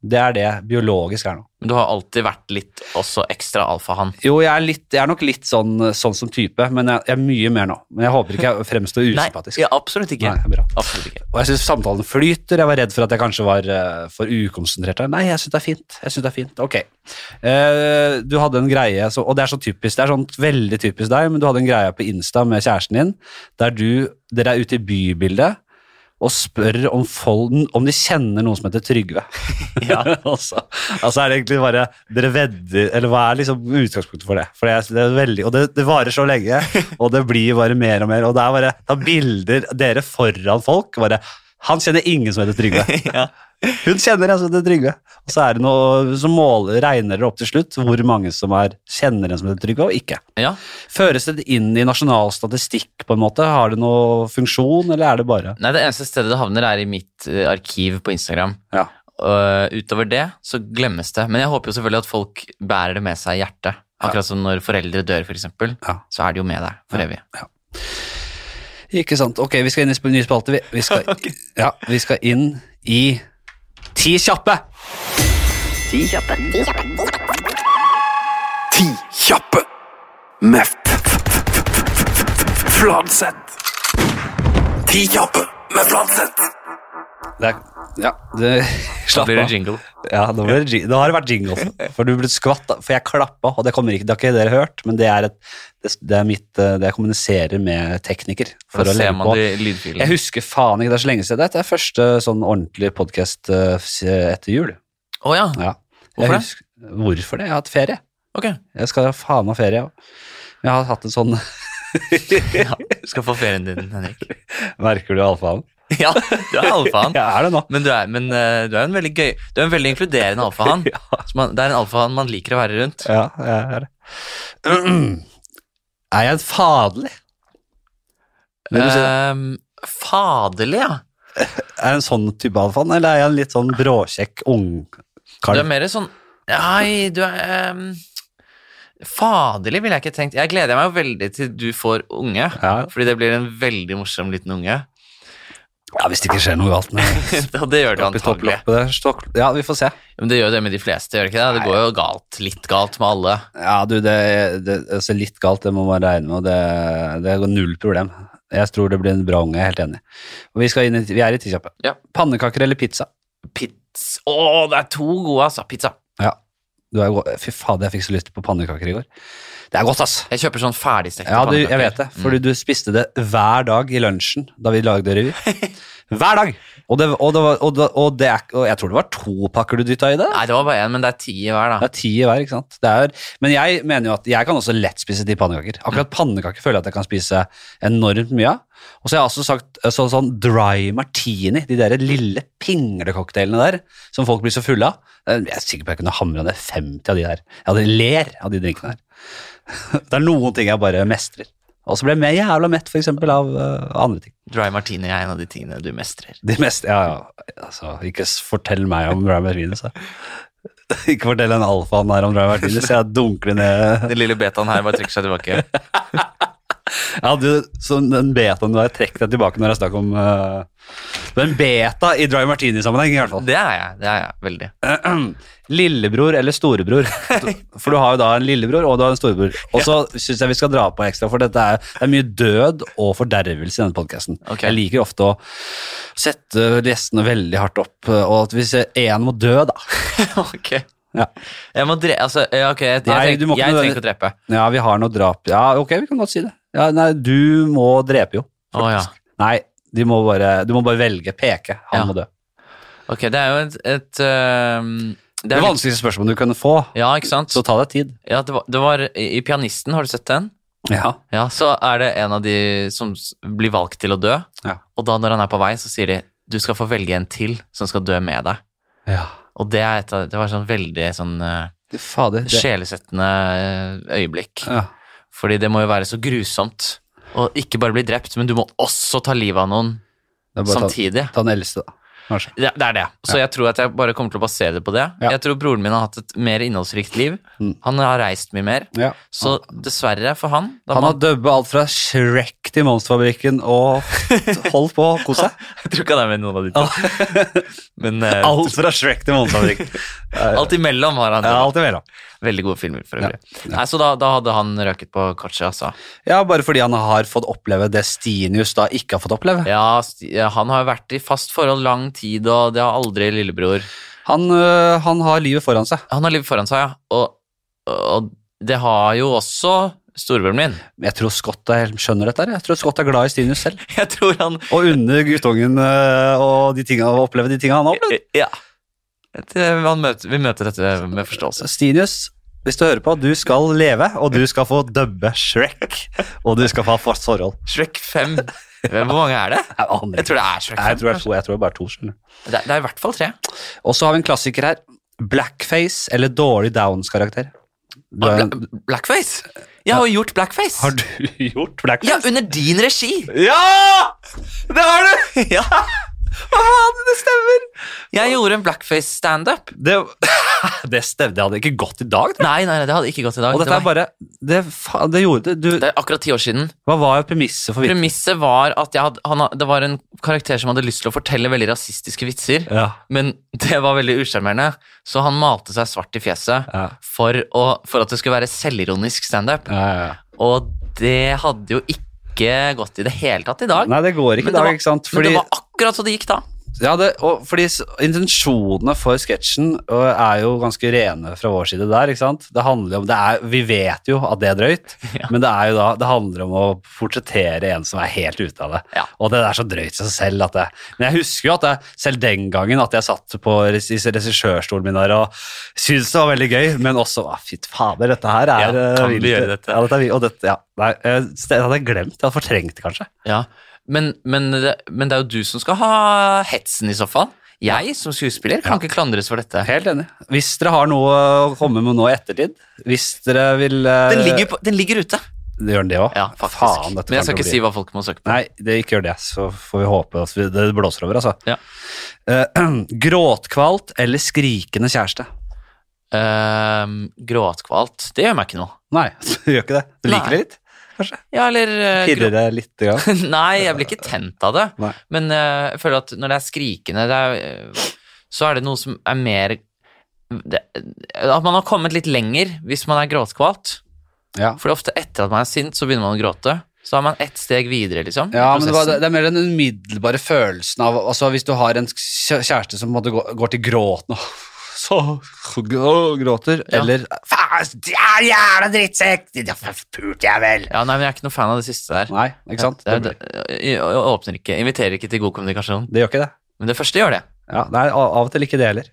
[SPEAKER 1] Det er det biologisk er nå.
[SPEAKER 2] Men du har alltid vært litt også ekstra alfahann.
[SPEAKER 1] Jo, jeg er, litt, jeg er nok litt sånn, sånn som type, men jeg, jeg er mye mer nå. Men jeg håper ikke jeg fremstår usympatisk.
[SPEAKER 2] ja, absolutt ikke.
[SPEAKER 1] Nei, bra.
[SPEAKER 2] Absolutt ikke.
[SPEAKER 1] Og jeg syns samtalen flyter. Jeg var redd for at jeg kanskje var eh, for ukonsentrert. her. Nei, jeg syns det er fint. Jeg synes det er fint. Ok. Eh, du hadde en greie, så, og det er så typisk, det er sånn veldig typisk deg, men du hadde en greie på Insta med kjæresten din, der du, dere er ute i bybildet og spør om, folden, om de kjenner noen som heter Trygve.
[SPEAKER 2] Ja.
[SPEAKER 1] Og så- altså er det egentlig bare Dere vedder Eller hva er liksom utgangspunktet for det? For det er, det er veldig, og det, det varer så lenge, og det blir bare mer og mer. Og det er bare ta bilder dere foran folk. bare han kjenner ingen som heter Trygve.
[SPEAKER 2] Ja.
[SPEAKER 1] Hun kjenner en som heter Trygve. Og så, er det noe, så måler, regner dere opp til slutt hvor mange som er, kjenner en som heter Trygve, og ikke.
[SPEAKER 2] ja.
[SPEAKER 1] Føres det inn i nasjonal statistikk, på en måte? Har det noe funksjon, eller er det bare
[SPEAKER 2] Nei, det eneste stedet det havner, er i mitt eh, arkiv på Instagram.
[SPEAKER 1] Ja.
[SPEAKER 2] Og Øh, utover det så glemmes det. Men jeg håper jo selvfølgelig at folk bærer det med seg i hjertet. Akkurat som når foreldre dør, for eksempel.
[SPEAKER 1] Ja.
[SPEAKER 2] Så er det jo med deg for evig.
[SPEAKER 1] Ikke sant. Ok, vi skal inn i sp- ny spalte. Vi, vi, skal, ja, vi skal inn i Ti kjappe!
[SPEAKER 3] Ti kjappe. Ti kjappe.
[SPEAKER 4] Ti kjappe med f- f- f- f- f- Fladseth. Ti kjappe med Fladseth.
[SPEAKER 1] Det er, ja, det,
[SPEAKER 2] Da
[SPEAKER 1] slapp
[SPEAKER 2] blir det
[SPEAKER 1] av.
[SPEAKER 2] jingle.
[SPEAKER 1] Ja, nå blir det, jing- nå har det vært jingle. For du ble skvatt, for jeg klappa, og det kommer ikke, det har ikke dere hørt, men det er, et, det, det er mitt, eh, det jeg kommuniserer med tekniker.
[SPEAKER 2] For da
[SPEAKER 1] å
[SPEAKER 2] ser
[SPEAKER 1] legge
[SPEAKER 2] man
[SPEAKER 1] på.
[SPEAKER 2] de
[SPEAKER 1] Jeg
[SPEAKER 2] lydfilene.
[SPEAKER 1] husker faen ikke, det er så lenge siden. Dette er første sånn ordentlig podkast etter jul.
[SPEAKER 2] Å ja.
[SPEAKER 1] Ja.
[SPEAKER 2] Hvorfor det?
[SPEAKER 1] jeg husker, det? Hvorfor det? Jeg har hatt ferie.
[SPEAKER 2] Ok.
[SPEAKER 1] Jeg skal faen ha ferie. ja. Jeg har hatt en sånn
[SPEAKER 2] Du skal få ferien din, Henrik.
[SPEAKER 1] Merker du alfaen?
[SPEAKER 2] Ja, du er alfahann.
[SPEAKER 1] Ja, er det nå.
[SPEAKER 2] Men du er, men eh, du er en veldig gøy Du er en veldig inkluderende alfahann. Så man- Det er en alfahann man liker å være rundt.
[SPEAKER 1] Ja, jeg er det. Er jeg en fadelig? Vil du si det?
[SPEAKER 2] Ehm, faderlig, ja.
[SPEAKER 1] Er jeg en sånn type alfaen, eller er jeg en litt sånn bråkjekk
[SPEAKER 2] Du er
[SPEAKER 1] ungkar?
[SPEAKER 2] mer sånn Nei, du er ehm, Faderlig ville jeg ikke tenkt. Jeg gleder meg jo veldig til du får unge,
[SPEAKER 1] Ja.
[SPEAKER 2] fordi det blir en veldig morsom liten unge.
[SPEAKER 1] Ja, hvis det ikke skjer noe galt med
[SPEAKER 2] Og det gjør det
[SPEAKER 1] oppi
[SPEAKER 2] antagelig.
[SPEAKER 1] topplokket der. Stokk- Ja, vi får se.
[SPEAKER 2] Men det gjør det med de fleste, gjør det ikke det? Det går jo galt. Litt galt med alle.
[SPEAKER 1] Ja, du, det, det altså litt galt, det må man regne med, og det, det er null problem. Jeg tror det blir en bra unge, jeg er helt enig. Og vi, skal inn i, vi er i Tikjappe.
[SPEAKER 2] Ja.
[SPEAKER 1] Pannekaker eller pizza?
[SPEAKER 2] Pizza Å, det er to gode, altså. Pizza.
[SPEAKER 1] Ja. Du er, god- fy fader, jeg fikk så lyst på pannekaker i går. Det er godt, ass!
[SPEAKER 2] Jeg kjøper sånn ferdigstekte
[SPEAKER 1] Ja, du, jeg
[SPEAKER 2] pannekaker.
[SPEAKER 1] vet det, fordi du spiste det hver dag i lunsjen da vi lagde revy. Hver dag! Og, det, og, det var, og, det, og, det, er- og jeg tror det var to pakker du dytta i det.
[SPEAKER 2] Mm. Nei, det var bare én, men det er ti i hver, da.
[SPEAKER 1] Det er ti i hver, ikke sant. Det er, men jeg mener jo at jeg kan også lett spise ti pannekaker. Akkurat pannekaker føler jeg at jeg kan spise enormt mye av. Og så har jeg også sagt eh, så, sånn dry martini, de der lille pinglecocktailene der som folk blir så fulle av. Eh, Jeg er sikker på jeg kunne hamra ned 50 av de der. Jeg hadde ler av de drinkene der. Det er noen ting jeg bare mestrer. Og så ble jeg jævla mett for eksempel av eh, andre ting.
[SPEAKER 2] Dry martini er en av de tingene du mestrer.
[SPEAKER 1] De mest, ja, ja, altså, ikke s- fortell meg om dry martini, så. Ikke fortell en alfaen her om dry martini, så jeg dunker det ned
[SPEAKER 2] Den lille betaen her bare trekker seg tilbake.
[SPEAKER 1] Ja, du, så sånn, den betaen du har trukket deg tilbake når jeg snakker om eh, Du er en beta i Dry Martini-sammenheng, i hvert fall.
[SPEAKER 2] Det er jeg. det er jeg, Veldig.
[SPEAKER 1] Lillebror eller storebror? For du har jo da en lillebror og du har en storebror. Og så syns jeg vi skal dra på ekstra, for dette er, det er mye død og fordervelse i denne podkasten.
[SPEAKER 2] Ok.
[SPEAKER 1] Jeg liker ofte å sette gjestene veldig hardt opp, eh, og at hvis én må dø, da
[SPEAKER 2] ok.
[SPEAKER 1] Ja.
[SPEAKER 2] Jeg må dre... Altså, ja, ok, jeg, jeg,
[SPEAKER 1] Nei,
[SPEAKER 2] trenger-
[SPEAKER 1] du må ikke
[SPEAKER 2] jeg
[SPEAKER 1] nødvendig-
[SPEAKER 2] trenger ikke å drepe.
[SPEAKER 1] Ja, vi har noe drap Ja, ok, vi kan godt si det. Ja, nei, du må drepe, jo.
[SPEAKER 2] Å ja.
[SPEAKER 1] Nei, De må bare, du må bare velge. Peke. Han
[SPEAKER 2] Ja.
[SPEAKER 1] må dø.
[SPEAKER 2] Ok, det er jo et, et øhm,
[SPEAKER 1] Det,
[SPEAKER 2] er-
[SPEAKER 1] vanskeligste spørsmålet du kunne få.
[SPEAKER 2] Ja, ikke sant?
[SPEAKER 1] Så ta deg tid.
[SPEAKER 2] Ja, det var, det var i i Pianisten, har du sett den?
[SPEAKER 1] Ja.
[SPEAKER 2] Ja, så er det en av de som s- blir valgt til å dø,
[SPEAKER 1] Ja.
[SPEAKER 2] og da når han er på vei, så sier de du skal få velge en til som skal dø med deg. Og det, er et, av- det var sånn veldig sånn eh,
[SPEAKER 1] Fader. Det.
[SPEAKER 2] sjelesettende eh, øyeblikk.
[SPEAKER 1] Ja.
[SPEAKER 2] Fordi det må jo være så grusomt å ikke bare bli drept, men du må også ta livet av noen
[SPEAKER 1] Det er bare å ta,
[SPEAKER 2] samtidig.
[SPEAKER 1] ta den eldste, da. Kanskje.
[SPEAKER 2] Det, det er det. Så jeg tror at jeg bare kommer til å basere det på det.
[SPEAKER 1] Ja.
[SPEAKER 2] Jeg tror broren min har hatt et mer innholdsrikt liv.
[SPEAKER 1] Mm.
[SPEAKER 2] Han har reist mye mer.
[SPEAKER 1] Ja.
[SPEAKER 2] Så dessverre for han da
[SPEAKER 1] Han
[SPEAKER 2] må-
[SPEAKER 1] har dubba alt fra Shrek til Monsterfabrikken og holdt på å kose seg.
[SPEAKER 2] Jeg tror ikke han er med i noen av de to. Men eh,
[SPEAKER 1] Alt fra Shrek til Monsterfabrikken.
[SPEAKER 2] alt imellom har han.
[SPEAKER 1] Ja, alt imellom.
[SPEAKER 2] Veldig gode filmer, for øvrig. Nei, så da, da hadde han røket på kortet, altså.
[SPEAKER 1] Ja, bare fordi han har fått oppleve det Stinius da ikke har fått oppleve.
[SPEAKER 2] Ja, st- ja, han har jo vært i fast forhold lang tid, og det har aldri lillebror.
[SPEAKER 1] Han, øh, han har livet foran seg.
[SPEAKER 2] Han har livet foran seg, ja. Og, og det har jo også storebroren min.
[SPEAKER 1] Men Jeg tror Scott er, skjønner dette. her. Jeg tror Scott er glad i Stinius selv.
[SPEAKER 2] Jeg tror han
[SPEAKER 1] Og unner guttungen øh, å de tingene- å oppleve de tingene han har opplevd.
[SPEAKER 2] Eh, Ja. Jeg tror han eh, møter, vi møter dette med
[SPEAKER 1] Så
[SPEAKER 2] forståelse.
[SPEAKER 1] Stinius, hvis du hører på, du skal leve, og du skal få dubbe Shrek. Og du skal få ha fast forhold.
[SPEAKER 2] Shrek 5. Hvor mange er det?
[SPEAKER 1] Jeg aner
[SPEAKER 2] Jeg
[SPEAKER 1] ikke.
[SPEAKER 2] tror det er Shrek 5.
[SPEAKER 1] Nei, Jeg tror det er to. Jeg tror det er bare to. skjønner du.
[SPEAKER 2] Det, er- det er i hvert fall tre.
[SPEAKER 1] Og så har vi en klassiker her. Blackface eller dårlig Downs-karakter. Du er en-
[SPEAKER 2] Bla- Blackface? Jeg har jo gjort blackface.
[SPEAKER 1] Har du gjort blackface?
[SPEAKER 2] Ja, under din regi.
[SPEAKER 1] Ja!
[SPEAKER 2] Det har du! Ja. Hva faen, det stemmer. Jeg gjorde en blackface-standup.
[SPEAKER 1] Det, det stemte. Det hadde ikke gått i dag. tror jeg.
[SPEAKER 2] Nei, nei, nei, det hadde ikke gått i dag.
[SPEAKER 1] Og dette
[SPEAKER 2] det,
[SPEAKER 1] er bare Det, fa- det gjorde du
[SPEAKER 2] det er akkurat ti år siden.
[SPEAKER 1] Hva var jo premisset for vitsen?
[SPEAKER 2] Premisset var at jeg hadde, han, had- det var en karakter som hadde lyst til å fortelle veldig rasistiske vitser,
[SPEAKER 1] Ja.
[SPEAKER 2] men det var veldig usjarmerende, så han malte seg svart i fjeset
[SPEAKER 1] Ja.
[SPEAKER 2] for, å, for at det skulle være selvironisk standup.
[SPEAKER 1] Ja, ja, ja.
[SPEAKER 2] Og det hadde jo ikke gått i det hele tatt i dag.
[SPEAKER 1] Nei, det går ikke i
[SPEAKER 2] Men
[SPEAKER 1] dag,
[SPEAKER 2] det var-
[SPEAKER 1] ikke sant?
[SPEAKER 2] Men
[SPEAKER 1] Fordi,
[SPEAKER 2] det var akkurat så det gikk da.
[SPEAKER 1] ja, det, og, fordi s- intensjonene for sketsjen ø, er jo ganske rene fra vår side der, ikke sant? Det handler jo om, det er, vi vet jo at det er drøyt,
[SPEAKER 2] Ja.
[SPEAKER 1] men det, er jo da, det handler om å portrettere en som er helt ute av det.
[SPEAKER 2] Ja.
[SPEAKER 1] Og det er så drøyt i seg selv at jeg Men jeg husker jo at jeg, selv den gangen at jeg satt på res- i regissørstolen min der og syntes det var veldig gøy, men også ah, Fy fader, dette her er
[SPEAKER 2] Ja, kan
[SPEAKER 1] eh,
[SPEAKER 2] vi
[SPEAKER 1] vilt.
[SPEAKER 2] gjøre dette?
[SPEAKER 1] Ja, dette er, vilt, og dette, ja. Nei, eh, det hadde jeg glemt. Jeg hadde fortrengt det, kanskje.
[SPEAKER 2] Ja, men, men, det- men det er jo du som skal ha hetsen i så fall. Jeg som skuespiller kan ikke klandres for dette.
[SPEAKER 1] Helt enig. Hvis dere har noe å komme med nå i ettertid, hvis dere vil eh,
[SPEAKER 2] Den ligger, på, den ligger ute.
[SPEAKER 1] Det gjør den det òg?
[SPEAKER 2] Ja, faktisk.
[SPEAKER 1] Faen, dette
[SPEAKER 2] men jeg
[SPEAKER 1] kan
[SPEAKER 2] skal
[SPEAKER 1] bli-
[SPEAKER 2] ikke si hva folk må søke på.
[SPEAKER 1] Nei, det ikke gjør det, så får vi håpe at vi- det blåser over, altså.
[SPEAKER 2] Ja.
[SPEAKER 1] Eh, gråtkvalt eller skrikende kjæreste?
[SPEAKER 2] Ehm, gråtkvalt, det gjør meg ikke noe.
[SPEAKER 1] Nei, du gjør ikke det. Du liker
[SPEAKER 2] Nei.
[SPEAKER 1] det litt?
[SPEAKER 2] Ja, eller eh,
[SPEAKER 1] Pirrer det litt? Ja.
[SPEAKER 2] grå- Nei, jeg blir ikke tent av det.
[SPEAKER 1] Nei.
[SPEAKER 2] Men eh, jeg føler at når det er skrikende, det er, eh, så er det noe som er mer det, At man har kommet litt lenger hvis man er gråtkvalt.
[SPEAKER 1] Ja.
[SPEAKER 2] For ofte etter at man er sint, så begynner man å gråte. Så er man ett steg videre, liksom. i
[SPEAKER 1] Ja, men det, var,
[SPEAKER 2] prosessen.
[SPEAKER 1] det er mer den umiddelbare følelsen av altså Hvis du har en kjæ- kjæreste som på en måte går, går til gråten og så og gråter,
[SPEAKER 2] Ja.
[SPEAKER 1] eller Faen, jævla jævla drittsekk! Det pulte jeg vel!
[SPEAKER 2] Ja, nei, men jeg er ikke noe fan av det siste der.
[SPEAKER 1] Nei, ikke sant?
[SPEAKER 2] Det,
[SPEAKER 1] Det,
[SPEAKER 2] er- det, jeg jeg åpner ikke, inviterer ikke til god kommunikasjon.
[SPEAKER 1] det gjør ikke det.
[SPEAKER 2] Men det første gjør det.
[SPEAKER 1] Ja, nei, a- av og til ikke det heller.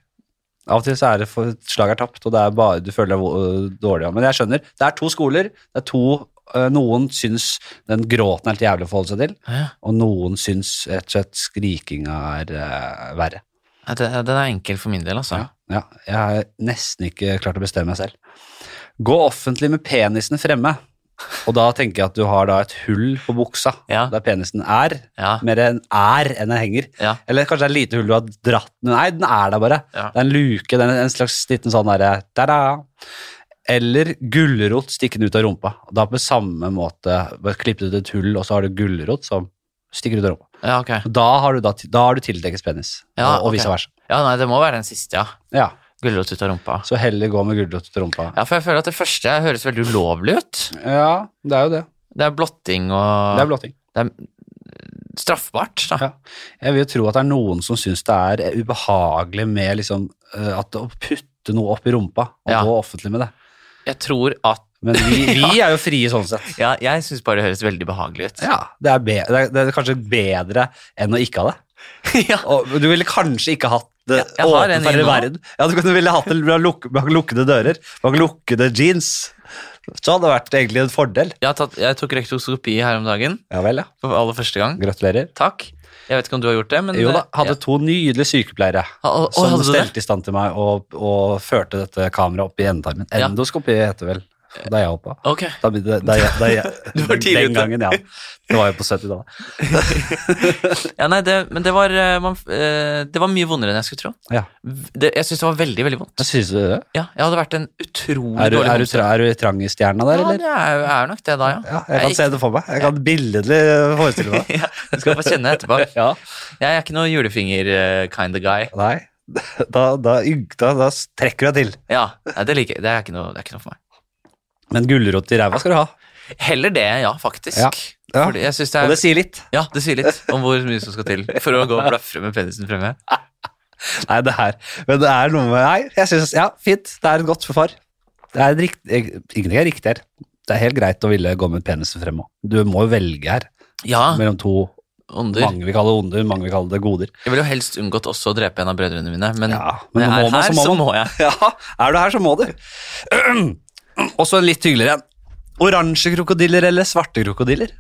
[SPEAKER 1] Av og til så er det for slaget er tapt, og det er bare du føler deg vo- dårlig. Men jeg skjønner. Det er to skoler. Det er to eh, Noen syns den gråten er helt jævlig å forholde seg til,
[SPEAKER 2] Ja.
[SPEAKER 1] og noen syns rett og slett skrikinga er eh, verre.
[SPEAKER 2] Ja, det- Den er enkel for min del, altså.
[SPEAKER 1] Ja, ja. Jeg har nesten ikke klart å bestemme meg selv. Gå offentlig med penisen fremme. Og da tenker jeg at du har da et hull på buksa
[SPEAKER 2] Ja.
[SPEAKER 1] der penisen er.
[SPEAKER 2] Ja.
[SPEAKER 1] Mer en er enn en henger.
[SPEAKER 2] Ja.
[SPEAKER 1] Eller kanskje det er et lite hull du har dratt Nei, den er der bare.
[SPEAKER 2] Ja.
[SPEAKER 1] Det er en luke, det er en slags liten sånn derre ta-da. Eller gulrot stikkende ut av rumpa. Da på samme måte bare klippet ut et hull, og så har du gulrot som stikker ut av rumpa.
[SPEAKER 2] Ja, ok.
[SPEAKER 1] Da har du, da, da har du tildekket penis,
[SPEAKER 2] Ja,
[SPEAKER 1] og, og
[SPEAKER 2] ok.
[SPEAKER 1] vice versa.
[SPEAKER 2] Ja, nei, det må være den siste, ja.
[SPEAKER 1] Ja.
[SPEAKER 2] Gulrot ut av rumpa.
[SPEAKER 1] Så heller gå med gulrot til rumpa.
[SPEAKER 2] Ja, for jeg føler at det første høres veldig ulovlig ut.
[SPEAKER 1] Ja, det er jo det.
[SPEAKER 2] Det er blotting
[SPEAKER 1] Det
[SPEAKER 2] og
[SPEAKER 1] er blotting.
[SPEAKER 2] det er straffbart, da.
[SPEAKER 1] Ja. Jeg vil jo tro at det er noen som syns det er ubehagelig med liksom, eh, at å putte noe opp i rumpa og
[SPEAKER 2] Ja.
[SPEAKER 1] gå offentlig med det.
[SPEAKER 2] Jeg tror at
[SPEAKER 1] Men vi, vi er jo frie sånn sett.
[SPEAKER 2] Ja, jeg syns bare det høres veldig behagelig ut.
[SPEAKER 1] Ja, det er, be det er, det er kanskje bedre enn å ikke ha det.
[SPEAKER 2] Ja.
[SPEAKER 1] Og du ville kanskje ikke hatt det
[SPEAKER 2] Ja, jeg har
[SPEAKER 1] åpent
[SPEAKER 2] en
[SPEAKER 1] for
[SPEAKER 2] inne
[SPEAKER 1] hele
[SPEAKER 2] nå.
[SPEAKER 1] verden. Ja, du kunne ville hatt det bak luk bak lukkede dører, bak lukkede jeans. Så hadde det vært egentlig en fordel.
[SPEAKER 2] Jeg, har tatt, jeg tok rektoskopi her om dagen
[SPEAKER 1] Ja vel, ja.
[SPEAKER 2] for aller første gang.
[SPEAKER 1] Gratulerer.
[SPEAKER 2] Takk. Jeg vet ikke om du har gjort det, men
[SPEAKER 1] Jo da,
[SPEAKER 2] ja.
[SPEAKER 1] hadde to nydelige sykepleiere
[SPEAKER 2] Ha- å, å,
[SPEAKER 1] som
[SPEAKER 2] hadde du det?
[SPEAKER 1] stelte i stand til meg og, og førte dette kameraet opp i endetarmen.
[SPEAKER 2] Ja.
[SPEAKER 1] Endoskopi heter vel da jeg holdt på.
[SPEAKER 2] Ok.
[SPEAKER 1] Da, da, da, da,
[SPEAKER 2] Du var tidlig
[SPEAKER 1] den
[SPEAKER 2] ute.
[SPEAKER 1] gangen, ja. Det var jo på 70-tallet.
[SPEAKER 2] Ja, nei, det, men det var, eh, man, eh, det var mye vondere enn jeg skulle tro.
[SPEAKER 1] Ja.
[SPEAKER 2] V- Det, jeg syns det var veldig, veldig vondt.
[SPEAKER 1] Jeg synes du det?
[SPEAKER 2] Ja, jeg hadde vært en utrolig
[SPEAKER 1] Er du,
[SPEAKER 2] dårlig
[SPEAKER 1] er, du,
[SPEAKER 2] homse.
[SPEAKER 1] tra- er du trang i stjerna der,
[SPEAKER 2] Ja,
[SPEAKER 1] eller?
[SPEAKER 2] det er, jo- er nok det da, ja.
[SPEAKER 1] Ja, jeg kan
[SPEAKER 2] Jeg-
[SPEAKER 1] se det for meg. Jeg kan billedlig forestille meg.
[SPEAKER 2] ja, du skal få kjenne etterpå.
[SPEAKER 1] Ja.
[SPEAKER 2] Jeg er ikke noe julefinger-kind of guy.
[SPEAKER 1] Nei, da, da, ygg- da, da trekker du deg til.
[SPEAKER 2] Ja, nei, det, liker, jeg. det, er ikke noe, det er ikke noe for meg.
[SPEAKER 1] Men gulrot i ræva skal du ha.
[SPEAKER 2] Heller det, ja, faktisk.
[SPEAKER 1] Ja. Ja.
[SPEAKER 2] Fordi jeg synes det
[SPEAKER 1] Og
[SPEAKER 2] er,
[SPEAKER 1] det sier litt.
[SPEAKER 2] ja, det sier litt om hvor mye som skal til for å gå og blafre med penisen fremme.
[SPEAKER 1] Nei, det er, men det er noe med Nei, jeg synes, ja, fint. Det er et godt forsvar. Det er rikt, jeg- ingenting er riktig her. Det er helt greit å ville gå med penisen frem òg. Du må jo velge her
[SPEAKER 2] Ja,
[SPEAKER 1] mellom to
[SPEAKER 2] ånder.
[SPEAKER 1] Mange vil kalle det onder, mange vil kalle det goder.
[SPEAKER 2] Jeg ville jo helst unngått også å drepe en av brødrene mine, men
[SPEAKER 1] Ja, men nå
[SPEAKER 2] når jeg
[SPEAKER 1] må
[SPEAKER 2] er
[SPEAKER 1] man, så
[SPEAKER 2] her,
[SPEAKER 1] må
[SPEAKER 2] så
[SPEAKER 1] man.
[SPEAKER 2] må jeg.
[SPEAKER 1] Ja, er du her, så må du. Og så en litt hyggeligere en. Oransje krokodiller eller svarte krokodiller?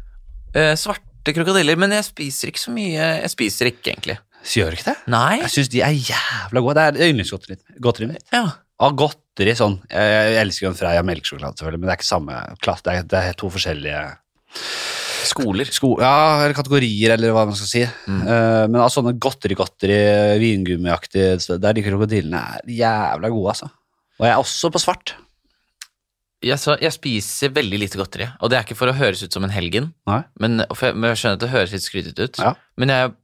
[SPEAKER 2] Eh, svarte krokodiller, men jeg spiser ikke så mye. Jeg spiser ikke, egentlig.
[SPEAKER 1] Gjør du ikke det?
[SPEAKER 2] Nei.
[SPEAKER 1] Jeg syns de er jævla gode. Det er yndlingsgodteriet godteriet mitt.
[SPEAKER 2] Ja.
[SPEAKER 1] Av godteri sånn Jeg, jeg elsker jo en Freia melkesjokolade, selvfølgelig, men det er ikke samme klasse. Det er, det er to forskjellige
[SPEAKER 2] Skoler. Mm.
[SPEAKER 1] sko... Ja, eller kategorier, eller hva man skal si. Eh, men av sånne godteri-godteri, vingummiaktige så Der de krokodillene er jævla gode, altså. Og jeg er også på svart.
[SPEAKER 2] Jeg, så, jeg spiser veldig lite godteri, og det er ikke for å høres ut som en helgen.
[SPEAKER 1] Nei.
[SPEAKER 2] Men, for jeg, men jeg skjønner at det høres litt skrytete ut,
[SPEAKER 1] Ja.
[SPEAKER 2] men jeg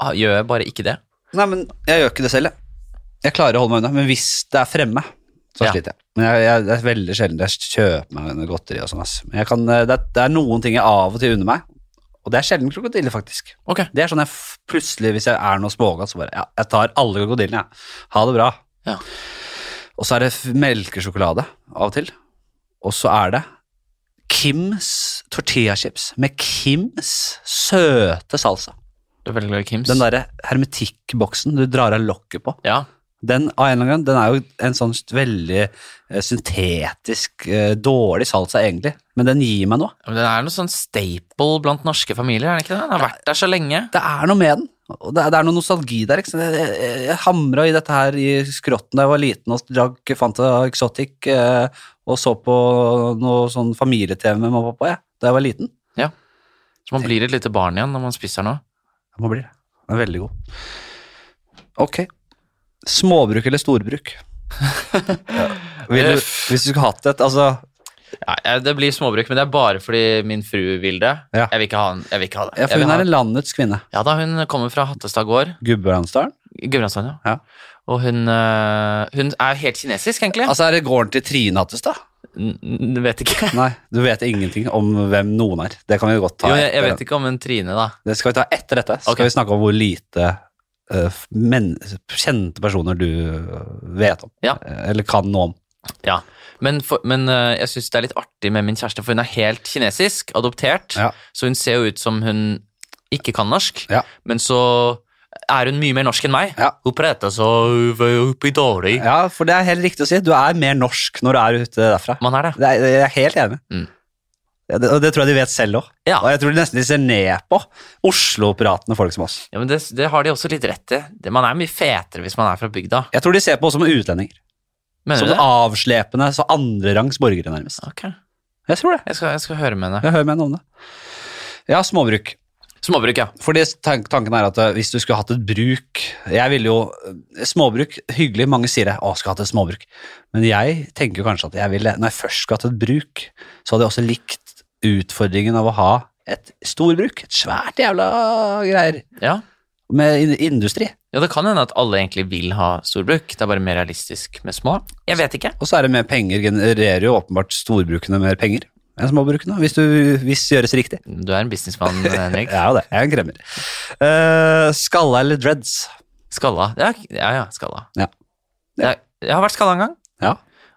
[SPEAKER 2] ha- gjør bare ikke det.
[SPEAKER 1] Nei, men jeg gjør ikke det selv, jeg. Jeg klarer å holde meg unna, men hvis det er fremme, så
[SPEAKER 2] Ja.
[SPEAKER 1] sliter jeg. Men jeg, jeg, det er veldig sjelden jeg kjøper meg noe godteri og sånn, ass. Men jeg kan, eh, det, er- det er noen ting jeg av og til unner meg, og det er sjelden krokodiller, faktisk.
[SPEAKER 2] Ok.
[SPEAKER 1] Det er sånn jeg f- plutselig, hvis jeg er noe smågass, så bare ja, jeg tar alle krokodillene, jeg. Ha det bra.
[SPEAKER 2] Ja.
[SPEAKER 1] Og så er det f- melkesjokolade av og til. Og så er det Kims tortillachips med Kims søte salsa.
[SPEAKER 2] Du er veldig glad i Kims.
[SPEAKER 1] Den derre hermetikkboksen du drar av lokket på.
[SPEAKER 2] Ja.
[SPEAKER 1] Den av en eller annen grunn, den er jo en sånn veldig eh, syntetisk, eh, dårlig salsa egentlig. Men den gir meg noe.
[SPEAKER 2] Men den er noe sånn staple blant norske familier, er den ikke det? Den har vært der så lenge.
[SPEAKER 1] det er noe med den. Og det er, det er noe nostalgi der. Ikke? sant? Jeg, jeg, jeg hamra i dette her i skrotten da jeg var liten og drakk Fanta Exotic eh, og så på noe sånn familie-TV med mamma og pappa jeg, da jeg var liten.
[SPEAKER 2] Så man blir et lite barn igjen når man spiser nå.
[SPEAKER 1] Jeg må bli det. Den er veldig god. Ok. Småbruk eller storbruk? Ja. Vil du, hvis du skulle hatt et altså,
[SPEAKER 2] Ja, jeg- det blir småbruk, men det er bare fordi min fru vil det.
[SPEAKER 1] Ja.
[SPEAKER 2] Jeg vil ikke ha, en- jeg vil ikke ha det.
[SPEAKER 1] ja,
[SPEAKER 2] Jeg
[SPEAKER 1] for
[SPEAKER 2] vil
[SPEAKER 1] Hun
[SPEAKER 2] ha-
[SPEAKER 1] er en landets kvinne.
[SPEAKER 2] Ja da, hun kommer fra Hattestad gård,
[SPEAKER 1] Gudbrandsdalen.
[SPEAKER 2] i Gudbrandsdalen, ja.
[SPEAKER 1] Ja.
[SPEAKER 2] Og hun, øh, hun er helt kinesisk, egentlig.
[SPEAKER 1] Altså, er det gården til Trine Hattestad?
[SPEAKER 2] N- n- vet ikke.
[SPEAKER 1] Nei, du vet ingenting om hvem noen er. Det kan vi godt ta.
[SPEAKER 2] Jo, jeg, jeg
[SPEAKER 1] etter-
[SPEAKER 2] vet ikke om hun Trine, da.
[SPEAKER 1] Det skal vi ta etter dette. Så
[SPEAKER 2] Ok.
[SPEAKER 1] skal vi snakke om hvor lite eh, f- men, kjente personer du eh, vet om.
[SPEAKER 2] Ja.
[SPEAKER 1] Eh, Eller kan noe om.
[SPEAKER 2] Ja. Men, for, men øh, jeg syns det er litt artig med min kjæreste, for hun er helt kinesisk, adoptert,
[SPEAKER 1] Ja.
[SPEAKER 2] så hun ser jo ut som hun ikke kan norsk,
[SPEAKER 1] Ja.
[SPEAKER 2] men så er hun mye mer norsk enn meg.
[SPEAKER 1] Ja.
[SPEAKER 2] Hun prater så oppi dårlig.
[SPEAKER 1] Ja, for det er helt riktig å si. Du er mer norsk når du er ute derfra.
[SPEAKER 2] Man er det.
[SPEAKER 1] Det er, jeg er helt enig.
[SPEAKER 2] Mm.
[SPEAKER 1] Ja, det, og det tror jeg de vet selv òg.
[SPEAKER 2] Ja.
[SPEAKER 1] Og jeg tror de nesten de ser ned på Oslo-pratende folk som oss.
[SPEAKER 2] Ja, men det, det har de også litt rett til. Det- Man er mye fetere hvis man er fra bygda.
[SPEAKER 1] Jeg tror de ser på oss som utlendinger.
[SPEAKER 2] Mener
[SPEAKER 1] som
[SPEAKER 2] du det?
[SPEAKER 1] avslepende, så andrerangs borgere, nærmest.
[SPEAKER 2] Ok,
[SPEAKER 1] Jeg tror det.
[SPEAKER 2] jeg skal, jeg skal høre med henne.
[SPEAKER 1] Jeg hører med henne om det. Ja, småbruk.
[SPEAKER 2] Småbruk, ja.
[SPEAKER 1] Fordi tank- tanken er at eh, hvis du skulle hatt et bruk Jeg ville jo eh, Småbruk, hyggelig. Mange sier det. Å, skulle hatt et småbruk. Men jeg tenker jo kanskje at jeg ville Når jeg først skulle hatt et bruk, så hadde jeg også likt utfordringen av å ha et storbruk. Et svært jævla greier.
[SPEAKER 2] ja.
[SPEAKER 1] Med in- industri.
[SPEAKER 2] Ja, det kan hende at alle egentlig vil ha storbruk. Det er bare mer realistisk med små. Jeg vet ikke.
[SPEAKER 1] Og så er det mer penger. Genererer jo åpenbart storbrukene mer penger enn småbrukene. Hvis, du, hvis det gjøres riktig.
[SPEAKER 2] Du er en businessmann, Henrik.
[SPEAKER 1] Jeg er jo det. Jeg er en kremmer. Eh, skalla eller dreads?
[SPEAKER 2] Skalla. Ja, ja, ja skalla.
[SPEAKER 1] Ja.
[SPEAKER 2] Jeg, jeg har vært skalla en gang.
[SPEAKER 1] Ja.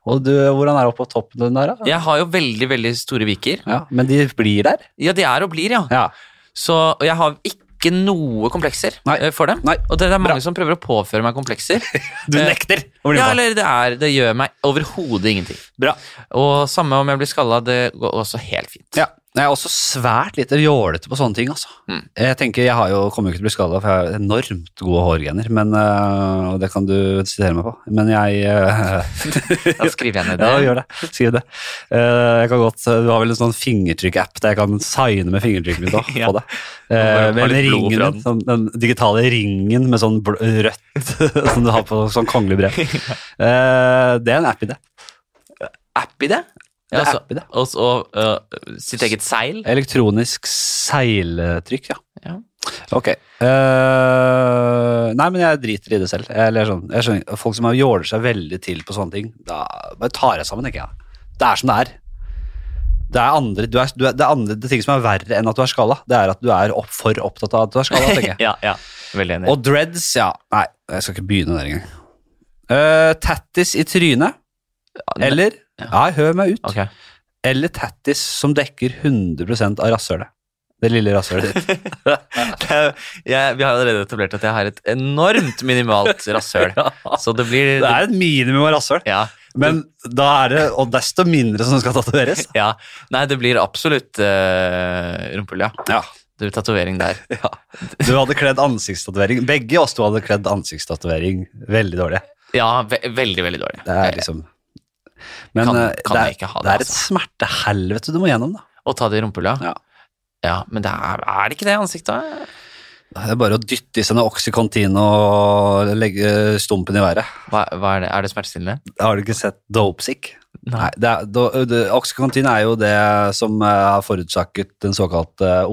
[SPEAKER 1] Og du, hvordan er det oppe på toppen den der, da?
[SPEAKER 2] Jeg har jo veldig, veldig store viker.
[SPEAKER 1] Ja, men de blir der?
[SPEAKER 2] Ja, det er og blir, ja.
[SPEAKER 1] Ja.
[SPEAKER 2] Så og jeg har ikke noe komplekser
[SPEAKER 1] Nei.
[SPEAKER 2] eh, for det.
[SPEAKER 1] Nei.
[SPEAKER 2] Og det er mange
[SPEAKER 1] Bra.
[SPEAKER 2] som prøver å påføre meg komplekser.
[SPEAKER 1] Du
[SPEAKER 2] Eh,
[SPEAKER 1] nekter å bli
[SPEAKER 2] Ja,
[SPEAKER 1] med.
[SPEAKER 2] eller det, er, det gjør meg overhodet ingenting.
[SPEAKER 1] Bra.
[SPEAKER 2] Og samme om jeg blir skalla, det går også helt fint.
[SPEAKER 1] Ja. Jeg er også svært lite jålete på sånne ting, altså.
[SPEAKER 2] Mm.
[SPEAKER 1] Jeg tenker, jeg har jo, kommer jo ikke til å bli skada, for jeg har enormt gode hårgener. Men, øh, og det kan du sitere meg på. Men jeg øh,
[SPEAKER 2] Da skriver jeg ned det.
[SPEAKER 1] Ja, gjør det. Skriv det. Eh, jeg kan godt, Du har vel en sånn fingertrykk-app der jeg kan signe med fingertrykket mitt også,
[SPEAKER 2] Ja.
[SPEAKER 1] på det. Eh,
[SPEAKER 2] Bare
[SPEAKER 1] med den,
[SPEAKER 2] litt blod
[SPEAKER 1] ringen,
[SPEAKER 2] fra
[SPEAKER 1] din, sånn, den digitale ringen med sånn bl rødt som du har på sånn kongelig brev. Eh, det er en app i det.
[SPEAKER 2] App i det?
[SPEAKER 1] Det er
[SPEAKER 2] altså,
[SPEAKER 1] app i det.
[SPEAKER 2] Og så øh, sitt eget seil.
[SPEAKER 1] Elektronisk seiltrykk, ja.
[SPEAKER 2] Ja.
[SPEAKER 1] Ok. Eh, nei, men jeg driter i det selv. Eller sånn, jeg skjønner, folk som har jåler seg veldig til på sånne ting, da bare tar jeg sammen, tenker jeg. Det er som det er. Det er andre, du er, du er, det er andre det ting som er verre enn at du er skalla. Det er at du er opp, for opptatt av at du er skalla, tenker jeg.
[SPEAKER 2] Ja, ja. Veldig enig.
[SPEAKER 1] Og dreads, ja. Nei, jeg skal ikke begynne der engang. Uh, tattis i trynet, eller Nei, hør meg ut.
[SPEAKER 2] Ok.
[SPEAKER 1] Eller tattis som dekker 100 av rasshølet. Det lille rasshølet ditt.
[SPEAKER 2] Det er- jeg, vi har allerede etablert at jeg har et enormt minimalt rasshøl. Så det blir
[SPEAKER 1] Det er et minimum av rasshøl.
[SPEAKER 2] ja,
[SPEAKER 1] Men da er det og desto mindre som skal tatoveres.
[SPEAKER 2] ja. Nei, det blir absolutt uh, rumpehull, ja.
[SPEAKER 1] Ja.
[SPEAKER 2] Det blir tatovering der.
[SPEAKER 1] Du hadde kledd ansiktstatovering. Begge oss to hadde kledd ansiktstatovering veldig dårlig.
[SPEAKER 2] Ja, ve veldig, veldig dårlig.
[SPEAKER 1] Det er liksom Men
[SPEAKER 2] Kan-
[SPEAKER 1] eh,
[SPEAKER 2] kan
[SPEAKER 1] det,
[SPEAKER 2] jeg
[SPEAKER 1] er,
[SPEAKER 2] ikke ha det,
[SPEAKER 1] det er et
[SPEAKER 2] altså.
[SPEAKER 1] smertehelvete du må gjennom, da.
[SPEAKER 2] Å ta det i rumpehullet?
[SPEAKER 1] Ja.
[SPEAKER 2] Ja, men det er, er det ikke det i ansiktet?
[SPEAKER 1] Det er bare å dytte i seg noe Oxycontin og legge stumpen i været.
[SPEAKER 2] Hva, hva er det? Er det smertestillende?
[SPEAKER 1] Har du ikke sett Dopesick?
[SPEAKER 2] Nei.
[SPEAKER 1] Nei, det er, da- det- Oxycontin er jo det som eh, har forårsaket den såkalte eh,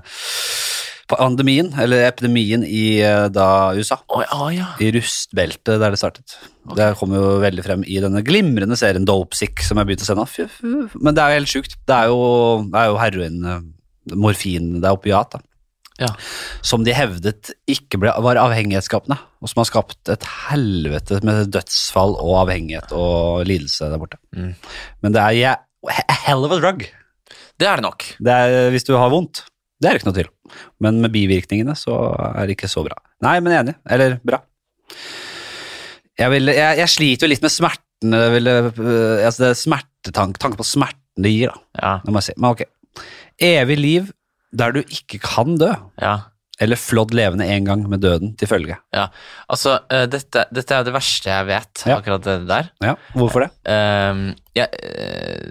[SPEAKER 1] opioid-pandemien, eh, eller epidemien, i eh, da USA.
[SPEAKER 2] Å ja, ja.
[SPEAKER 1] I rustbeltet der det startet. Det kom jo veldig frem i denne glimrende serien Dopesick, som jeg begynte å se nå. Fy, fy, fy. Men det er jo helt sjukt. Det er jo, det er jo heroin, eh, morfin, det er opiat, da.
[SPEAKER 2] Ja.
[SPEAKER 1] Som de hevdet ikke ble, var avhengighetsskapende, og som har skapt et helvete med dødsfall og avhengighet og lidelse der borte.
[SPEAKER 2] Mm.
[SPEAKER 1] Men det er ja, a hell of a drug.
[SPEAKER 2] Det er det nok.
[SPEAKER 1] Det er, hvis du har vondt, det er det ikke noe tvil om. Men med bivirkningene så er det ikke så bra. Nei, men enig. Eller bra. Jeg, vil, jeg, jeg sliter jo litt med smertene jeg ville, øh, altså det er smertetank, Tanken på smerten det gir, da.
[SPEAKER 2] Ja,
[SPEAKER 1] Det må jeg si. Men ok. Evig liv der du ikke kan dø.
[SPEAKER 2] ja.
[SPEAKER 1] Eller flådd levende en gang med døden til følge.
[SPEAKER 2] ja. Altså, eh, dette, dette er jo det verste jeg vet,
[SPEAKER 1] Ja.
[SPEAKER 2] akkurat det der.
[SPEAKER 1] Ja, Hvorfor det?
[SPEAKER 2] Ehm, jeg, eh,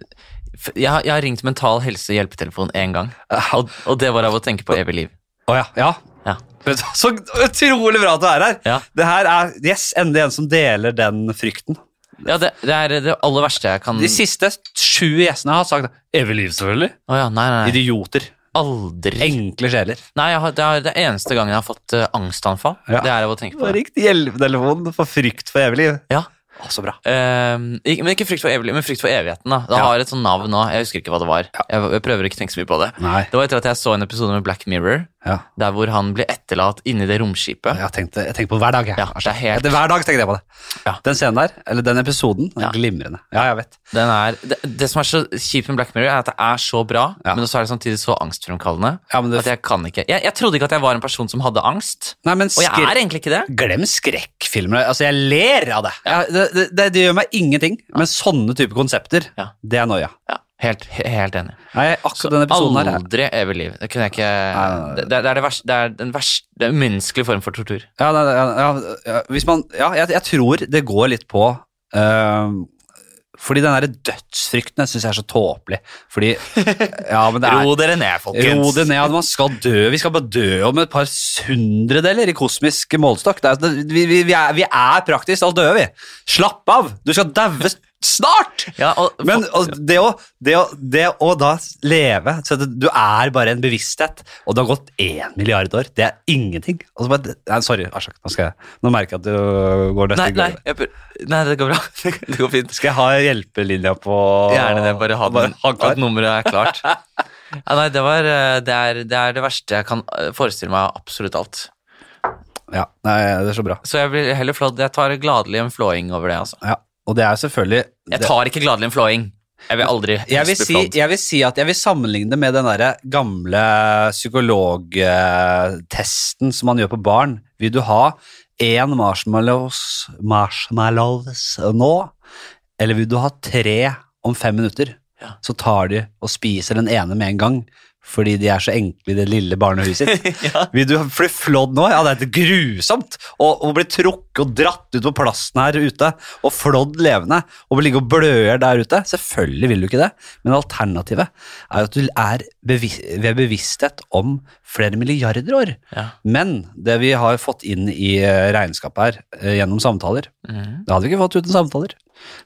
[SPEAKER 2] f- jeg, har- jeg har ringt Mental Helse hjelpetelefon én gang, og, og det var av å tenke på evig liv.
[SPEAKER 1] Å ja. ja.
[SPEAKER 2] Ja.
[SPEAKER 1] Vet du hva, Så utrolig bra at du er her!
[SPEAKER 2] Ja.
[SPEAKER 1] Det her er yes, endelig en som deler den frykten.
[SPEAKER 2] Ja, det, det er det aller verste jeg kan
[SPEAKER 1] De siste sju gjestene har sagt evig liv, selvfølgelig.
[SPEAKER 2] Å ja, nei, nei, nei.
[SPEAKER 1] Idioter.
[SPEAKER 2] Aldri.
[SPEAKER 1] Enkle sjeler.
[SPEAKER 2] Nei, jeg har, det er det eneste gangen jeg har fått eh, angstanfall.
[SPEAKER 1] Ja.
[SPEAKER 2] Det er av å tenke på det.
[SPEAKER 1] Rikt hjelpetelefon for frykt for evig liv.
[SPEAKER 2] Ja.
[SPEAKER 1] Å, så bra.
[SPEAKER 2] Ehm, ikke, men ikke frykt for evig liv, men frykt for evigheten. da Det
[SPEAKER 1] Ja.
[SPEAKER 2] har et sånt navn nå. Jeg husker ikke hva det var. Jeg, jeg prøver ikke å tenke så mye på det.
[SPEAKER 1] Nei.
[SPEAKER 2] Det var etter at jeg så en episode med Black Mirror,
[SPEAKER 1] Ja.
[SPEAKER 2] der hvor han ble etterlatt inni det romskipet.
[SPEAKER 1] Jeg tenkte, jeg tenkte på altså, det hver dag. Jeg.
[SPEAKER 2] Ja, det er helt,
[SPEAKER 1] Etter hver dag tenkte jeg på det.
[SPEAKER 2] Ja.
[SPEAKER 1] Den scenen der, eller den episoden, er
[SPEAKER 2] Ja.
[SPEAKER 1] glimrende. Ja, jeg vet.
[SPEAKER 2] den er, det, det som er så kjipt med Black Mirror, er at det er så bra,
[SPEAKER 1] Ja.
[SPEAKER 2] men så er det samtidig så angstfremkallende
[SPEAKER 1] Ja, men det-
[SPEAKER 2] at jeg kan ikke jeg, jeg trodde ikke at jeg var en person som hadde angst,
[SPEAKER 1] Nei, men
[SPEAKER 2] og jeg
[SPEAKER 1] skre-
[SPEAKER 2] er egentlig ikke det.
[SPEAKER 1] Glem skrekkfilmer. Altså, jeg ler av det. Ja, det, det, det. Det gjør meg ingenting. Men sånne type konsepter,
[SPEAKER 2] Ja.
[SPEAKER 1] det er noia.
[SPEAKER 2] Ja, helt, he- helt enig.
[SPEAKER 1] Nei, akkurat denne episoden her er-
[SPEAKER 2] Aldri evig liv. Det kunne jeg ikke
[SPEAKER 1] Nei, nei, nei.
[SPEAKER 2] Det, det er det verste, det er den verste, det er en umenneskelig form for tortur.
[SPEAKER 1] Ja, nei, nei, ja, ja, ja, hvis man, ja jeg, jeg tror det går litt på øhm, Fordi den der dødsfrykten syns jeg synes er så tåpelig. Fordi ja, men det er,
[SPEAKER 2] dere ned,
[SPEAKER 1] Ro det ned, at man skal dø. Vi skal bare dø om et par hundredeler i kosmisk målestokk. Det er- det- Vi, vi, vi, er, vi er praktisk talt døde, vi. Slapp av! Du skal daue s- snart!
[SPEAKER 2] Ja, og,
[SPEAKER 1] Men og det, å, det, å, det å da leve så at Du er bare en bevissthet, og det har gått én milliard år. Det er ingenting. Og så bare, nei, sorry, Aslak. Nå, skal jeg- nå merker jeg at du går
[SPEAKER 2] nei,
[SPEAKER 1] nesten i
[SPEAKER 2] nei,
[SPEAKER 1] gulvet.
[SPEAKER 2] jeg, prøver- nei, det går bra. Det går fint.
[SPEAKER 1] Skal jeg ha hjelpelinja på
[SPEAKER 2] Gjerne det, bare ha den,
[SPEAKER 1] ha klar?
[SPEAKER 2] at nummeret er klart. Ja, nei, det, var, eh, det, er, det er det verste jeg kan eh, forestille meg av absolutt alt.
[SPEAKER 1] Ja, nei, det er så bra.
[SPEAKER 2] Så jeg vil heller flå, jeg tar gladelig en flåing over det. altså.
[SPEAKER 1] Ja, og det er selvfølgelig
[SPEAKER 2] Jeg tar ikke gladelig en flåing. Jeg vil aldri
[SPEAKER 1] jeg vil,
[SPEAKER 2] spille
[SPEAKER 1] si,
[SPEAKER 2] flått.
[SPEAKER 1] jeg vil si at jeg vil sammenligne det med den der gamle psykologtesten som man gjør på barn. Vil du ha én marshmallows, marshmallows nå, eller vil du ha tre om fem minutter?
[SPEAKER 2] Ja.
[SPEAKER 1] Så tar de og spiser den ene med en gang, fordi de er så enkle i det lille barnehuset sitt.
[SPEAKER 2] Ja.
[SPEAKER 1] Vil du bli flådd nå? Ja, det er grusomt å, å bli trukket og dratt ut på plassen her ute, og flådd levende, og bli ligge og bløer der ute. Selvfølgelig vil du ikke det, men alternativet er jo at du er bevis ved bevissthet om flere milliarder år.
[SPEAKER 2] Ja.
[SPEAKER 1] Men det vi har fått inn i eh, regnskapet her, eh, gjennom samtaler,
[SPEAKER 2] Mhm.
[SPEAKER 1] det hadde vi ikke fått uten samtaler.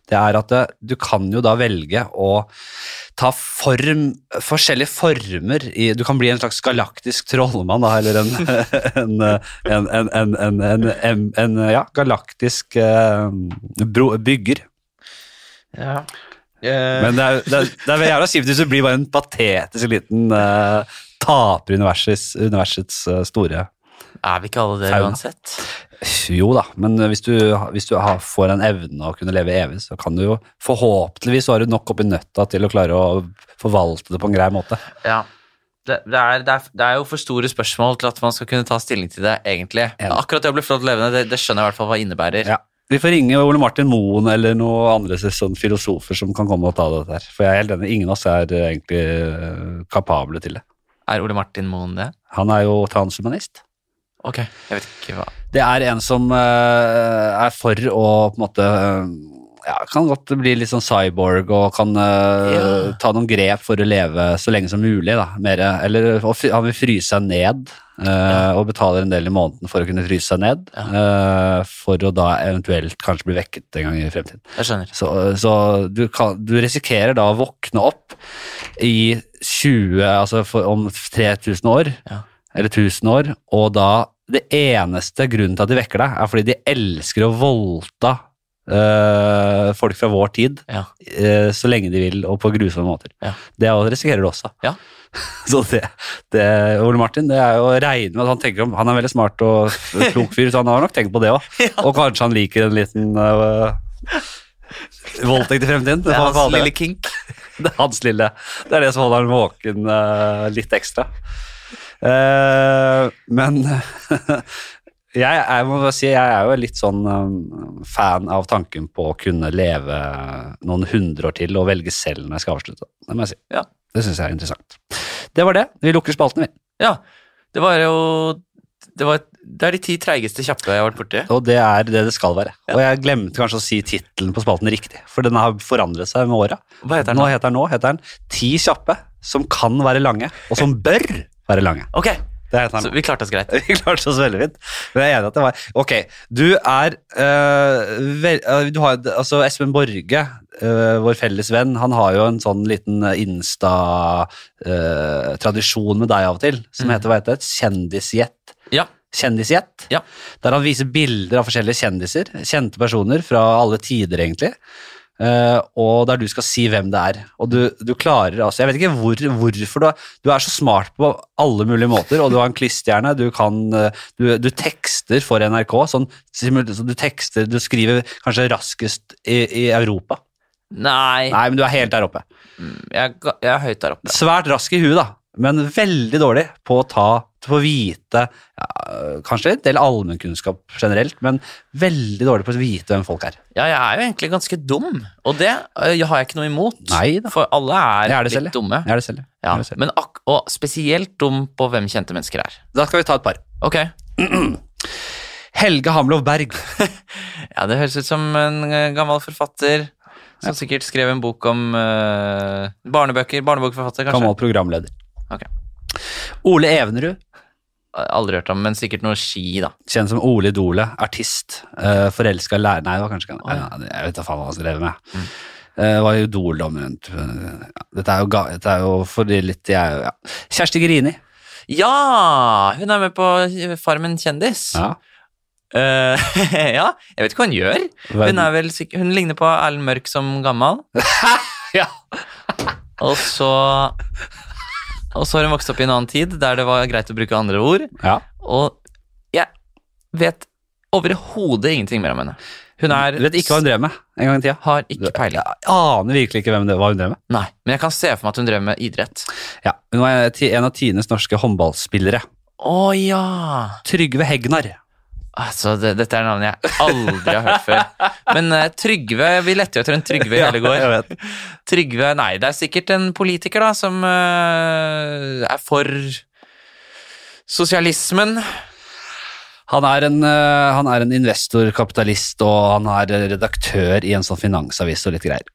[SPEAKER 1] Det er at eh, du kan jo da velge å ta form, forskjellige former i Du kan bli en slags galaktisk trollmann, da, eller en, en, eh, en, en, en, en, en, en, en Ja, galaktisk eh, bro, bygger.
[SPEAKER 2] Ja.
[SPEAKER 1] Men det er, det, er- det er jævla kjipt hvis du blir bare en patetisk liten eh, taper i universets, universets eh, store
[SPEAKER 2] Er vi ikke alle det
[SPEAKER 1] Fauna.
[SPEAKER 2] uansett?
[SPEAKER 1] Jo da, men eh, hvis du, hvis du har, får en evne å kunne leve evig, så kan du jo forhåpentligvis så har du nok oppi nøtta til å klare å forvalte det på en grei måte.
[SPEAKER 2] Ja. Det, det, er, det, er, det er jo for store spørsmål til at man skal kunne ta stilling til det, egentlig. Men
[SPEAKER 1] Enig.
[SPEAKER 2] akkurat det å bli flått levende, det, det skjønner jeg i hvert fall hva innebærer.
[SPEAKER 1] Ja. Vi får ringe Ole Martin Moen eller noen andre sånn filosofer som kan komme og ta dette her. For jeg er helt enig, ingen av oss er eh, egentlig eh, kapable til det.
[SPEAKER 2] Er Ole Martin Moen det?
[SPEAKER 1] Han er jo transhumanist.
[SPEAKER 2] Ok, jeg vet ikke hva
[SPEAKER 1] Det er en som eh, er for å på en måte eh, ja, kan godt bli litt sånn cyborg og kan eh,
[SPEAKER 2] Ja.
[SPEAKER 1] ta noen grep for å leve så lenge som mulig. Da. Mer, eller å fry- han vil fryse seg ned eh, og betaler en del i måneden for å kunne fryse seg ned. eh, for å da eventuelt kanskje bli vekket en gang i fremtiden.
[SPEAKER 2] Jeg skjønner.
[SPEAKER 1] Så, så du, kan, du risikerer da å våkne opp i 20, altså for, om 3000 år,
[SPEAKER 2] Ja.
[SPEAKER 1] eller 1000 år, og da det eneste grunnen til at de vekker deg, er fordi de elsker å voldta eh, folk fra vår tid,
[SPEAKER 2] Ja.
[SPEAKER 1] eh, så lenge de vil, og på grusomme måter.
[SPEAKER 2] Ja.
[SPEAKER 1] Det er- risikerer du også.
[SPEAKER 2] Ja.
[SPEAKER 1] Så det, det, Ole Martin, det er jo å regne med at han tenker om, han er veldig smart og klok fyr, så han har nok tenkt på det òg. Og kanskje han liker en liten øh, voldtekt i fremtiden.
[SPEAKER 2] Det er
[SPEAKER 1] får man
[SPEAKER 2] hans
[SPEAKER 1] kalle det.
[SPEAKER 2] lille kink.
[SPEAKER 1] Det er hans lille. Det er det som holder han våken eh, litt ekstra. Eh, men jeg, jeg må bare si jeg er jo litt sånn eh, fan av tanken på å kunne leve noen hundre år til og velge selv når jeg skal avslutte. Det må jeg si.
[SPEAKER 2] Ja.
[SPEAKER 1] Det syns jeg er interessant. Det var det. Vi lukker spalten, vi.
[SPEAKER 2] Ja, det var jo Det, var, det er de ti treigeste kjappe jeg har vært borti.
[SPEAKER 1] Og det er det det skal være. Og jeg glemte kanskje å si tittelen på spalten riktig, for den har forandret seg med åra.
[SPEAKER 2] Hva heter den
[SPEAKER 1] Nå
[SPEAKER 2] da?
[SPEAKER 1] heter den nå heter den Ti kjappe som kan være lange, og som bør være lange.
[SPEAKER 2] Ok,
[SPEAKER 1] Det heter den.
[SPEAKER 2] så vi klarte oss greit.
[SPEAKER 1] Vi klarte oss veldig fint. Men jeg er enig at det var Ok, du er øh, vel, øh, du har, Altså, Espen Borge, øh, vår felles venn, han har jo en sånn liten Insta-tradisjon med deg av og til, som heter hva heter det? Kjendisjet.
[SPEAKER 2] Ja.
[SPEAKER 1] Kjendisjet.
[SPEAKER 2] Ja.
[SPEAKER 1] Der han viser bilder av forskjellige kjendiser, kjente personer fra alle tider, egentlig. Eh, og der du skal si hvem det er. Og du, du klarer altså Jeg vet ikke hvor, hvorfor du er, du er så smart på alle mulige måter, og du har en klisterhjerne. Du kan eh, du, du tekster for NRK. Sånn, simul- så du tekster Du skriver kanskje raskest i, i Europa.
[SPEAKER 2] Nei,
[SPEAKER 1] Nei, men du er helt der oppe.
[SPEAKER 2] Jeg, ga- jeg er høyt der oppe.
[SPEAKER 1] Svært rask i huet, da, men veldig dårlig på å ta på å vite ja, Kanskje en del allmennkunnskap generelt, men veldig dårlig på å vite hvem folk er.
[SPEAKER 2] Ja, jeg er jo egentlig ganske dum, og det øh, har jeg ikke noe imot.
[SPEAKER 1] Nei da.
[SPEAKER 2] For alle er,
[SPEAKER 1] Jeg er det selv,
[SPEAKER 2] litt dumme.
[SPEAKER 1] Jeg er det selv. jeg. Jeg
[SPEAKER 2] Ja,
[SPEAKER 1] er det selv.
[SPEAKER 2] men ak og spesielt dum på hvem kjente mennesker er.
[SPEAKER 1] Da skal vi ta et par.
[SPEAKER 2] Ok.
[SPEAKER 1] Helge Hamlov Berg.
[SPEAKER 2] Ja, det høres ut som en eh, gammel forfatter som sikkert skrev en bok om eh, barnebøker. Barnebokforfatter, kanskje.
[SPEAKER 1] Gammel programleder.
[SPEAKER 2] Ok.
[SPEAKER 1] Ole Evenrud,
[SPEAKER 2] Aldri hørt om, men sikkert noe ski, da.
[SPEAKER 1] kjent som Ole Idole, artist. Uh, Forelska lærer... Nei, det var kanskje ikke han.
[SPEAKER 2] Å,
[SPEAKER 1] Nei, Jeg vet da faen hva han drev med.
[SPEAKER 2] Mm.
[SPEAKER 1] Eh, var jo idoldommer rundt eh, ja. Dette er jo, ga, dette er jo for de litt jeg, ja. Kjersti Grini.
[SPEAKER 2] Ja! Hun er med på Farmen kjendis.
[SPEAKER 1] Ja.
[SPEAKER 2] Eh, ja, jeg vet ikke hva hun gjør. Hun,
[SPEAKER 1] Verden-
[SPEAKER 2] er vel sikk- hun ligner på Erlend Mørk som gammel.
[SPEAKER 1] ja.
[SPEAKER 2] Og så Og så har hun vokst opp i en annen tid der det var greit å bruke andre ord.
[SPEAKER 1] ja.
[SPEAKER 2] Og jeg vet overhodet ingenting mer om henne. Hun er
[SPEAKER 1] Du vet ikke hva hun drev med en gang i tida.
[SPEAKER 2] Har ikke peiling.
[SPEAKER 1] Jeg aner virkelig ikke hvem det, hva hun drev med.
[SPEAKER 2] Nei, men jeg kan se for meg at hun drev med idrett.
[SPEAKER 1] Ja, Hun var ti- en av Tines norske håndballspillere.
[SPEAKER 2] Å ja!
[SPEAKER 1] Trygve Hegnar.
[SPEAKER 2] Altså, det, dette er navnet jeg aldri har hørt før. Men eh, Trygve Vi lette jo etter en Trygve i hele går.
[SPEAKER 1] jeg vet.
[SPEAKER 2] Trygve Nei, det er sikkert en politiker da som eh, er for sosialismen.
[SPEAKER 1] Han er en, eh, han er en investor, kapitalist, og han er redaktør i en sånn finansavis og litt greier.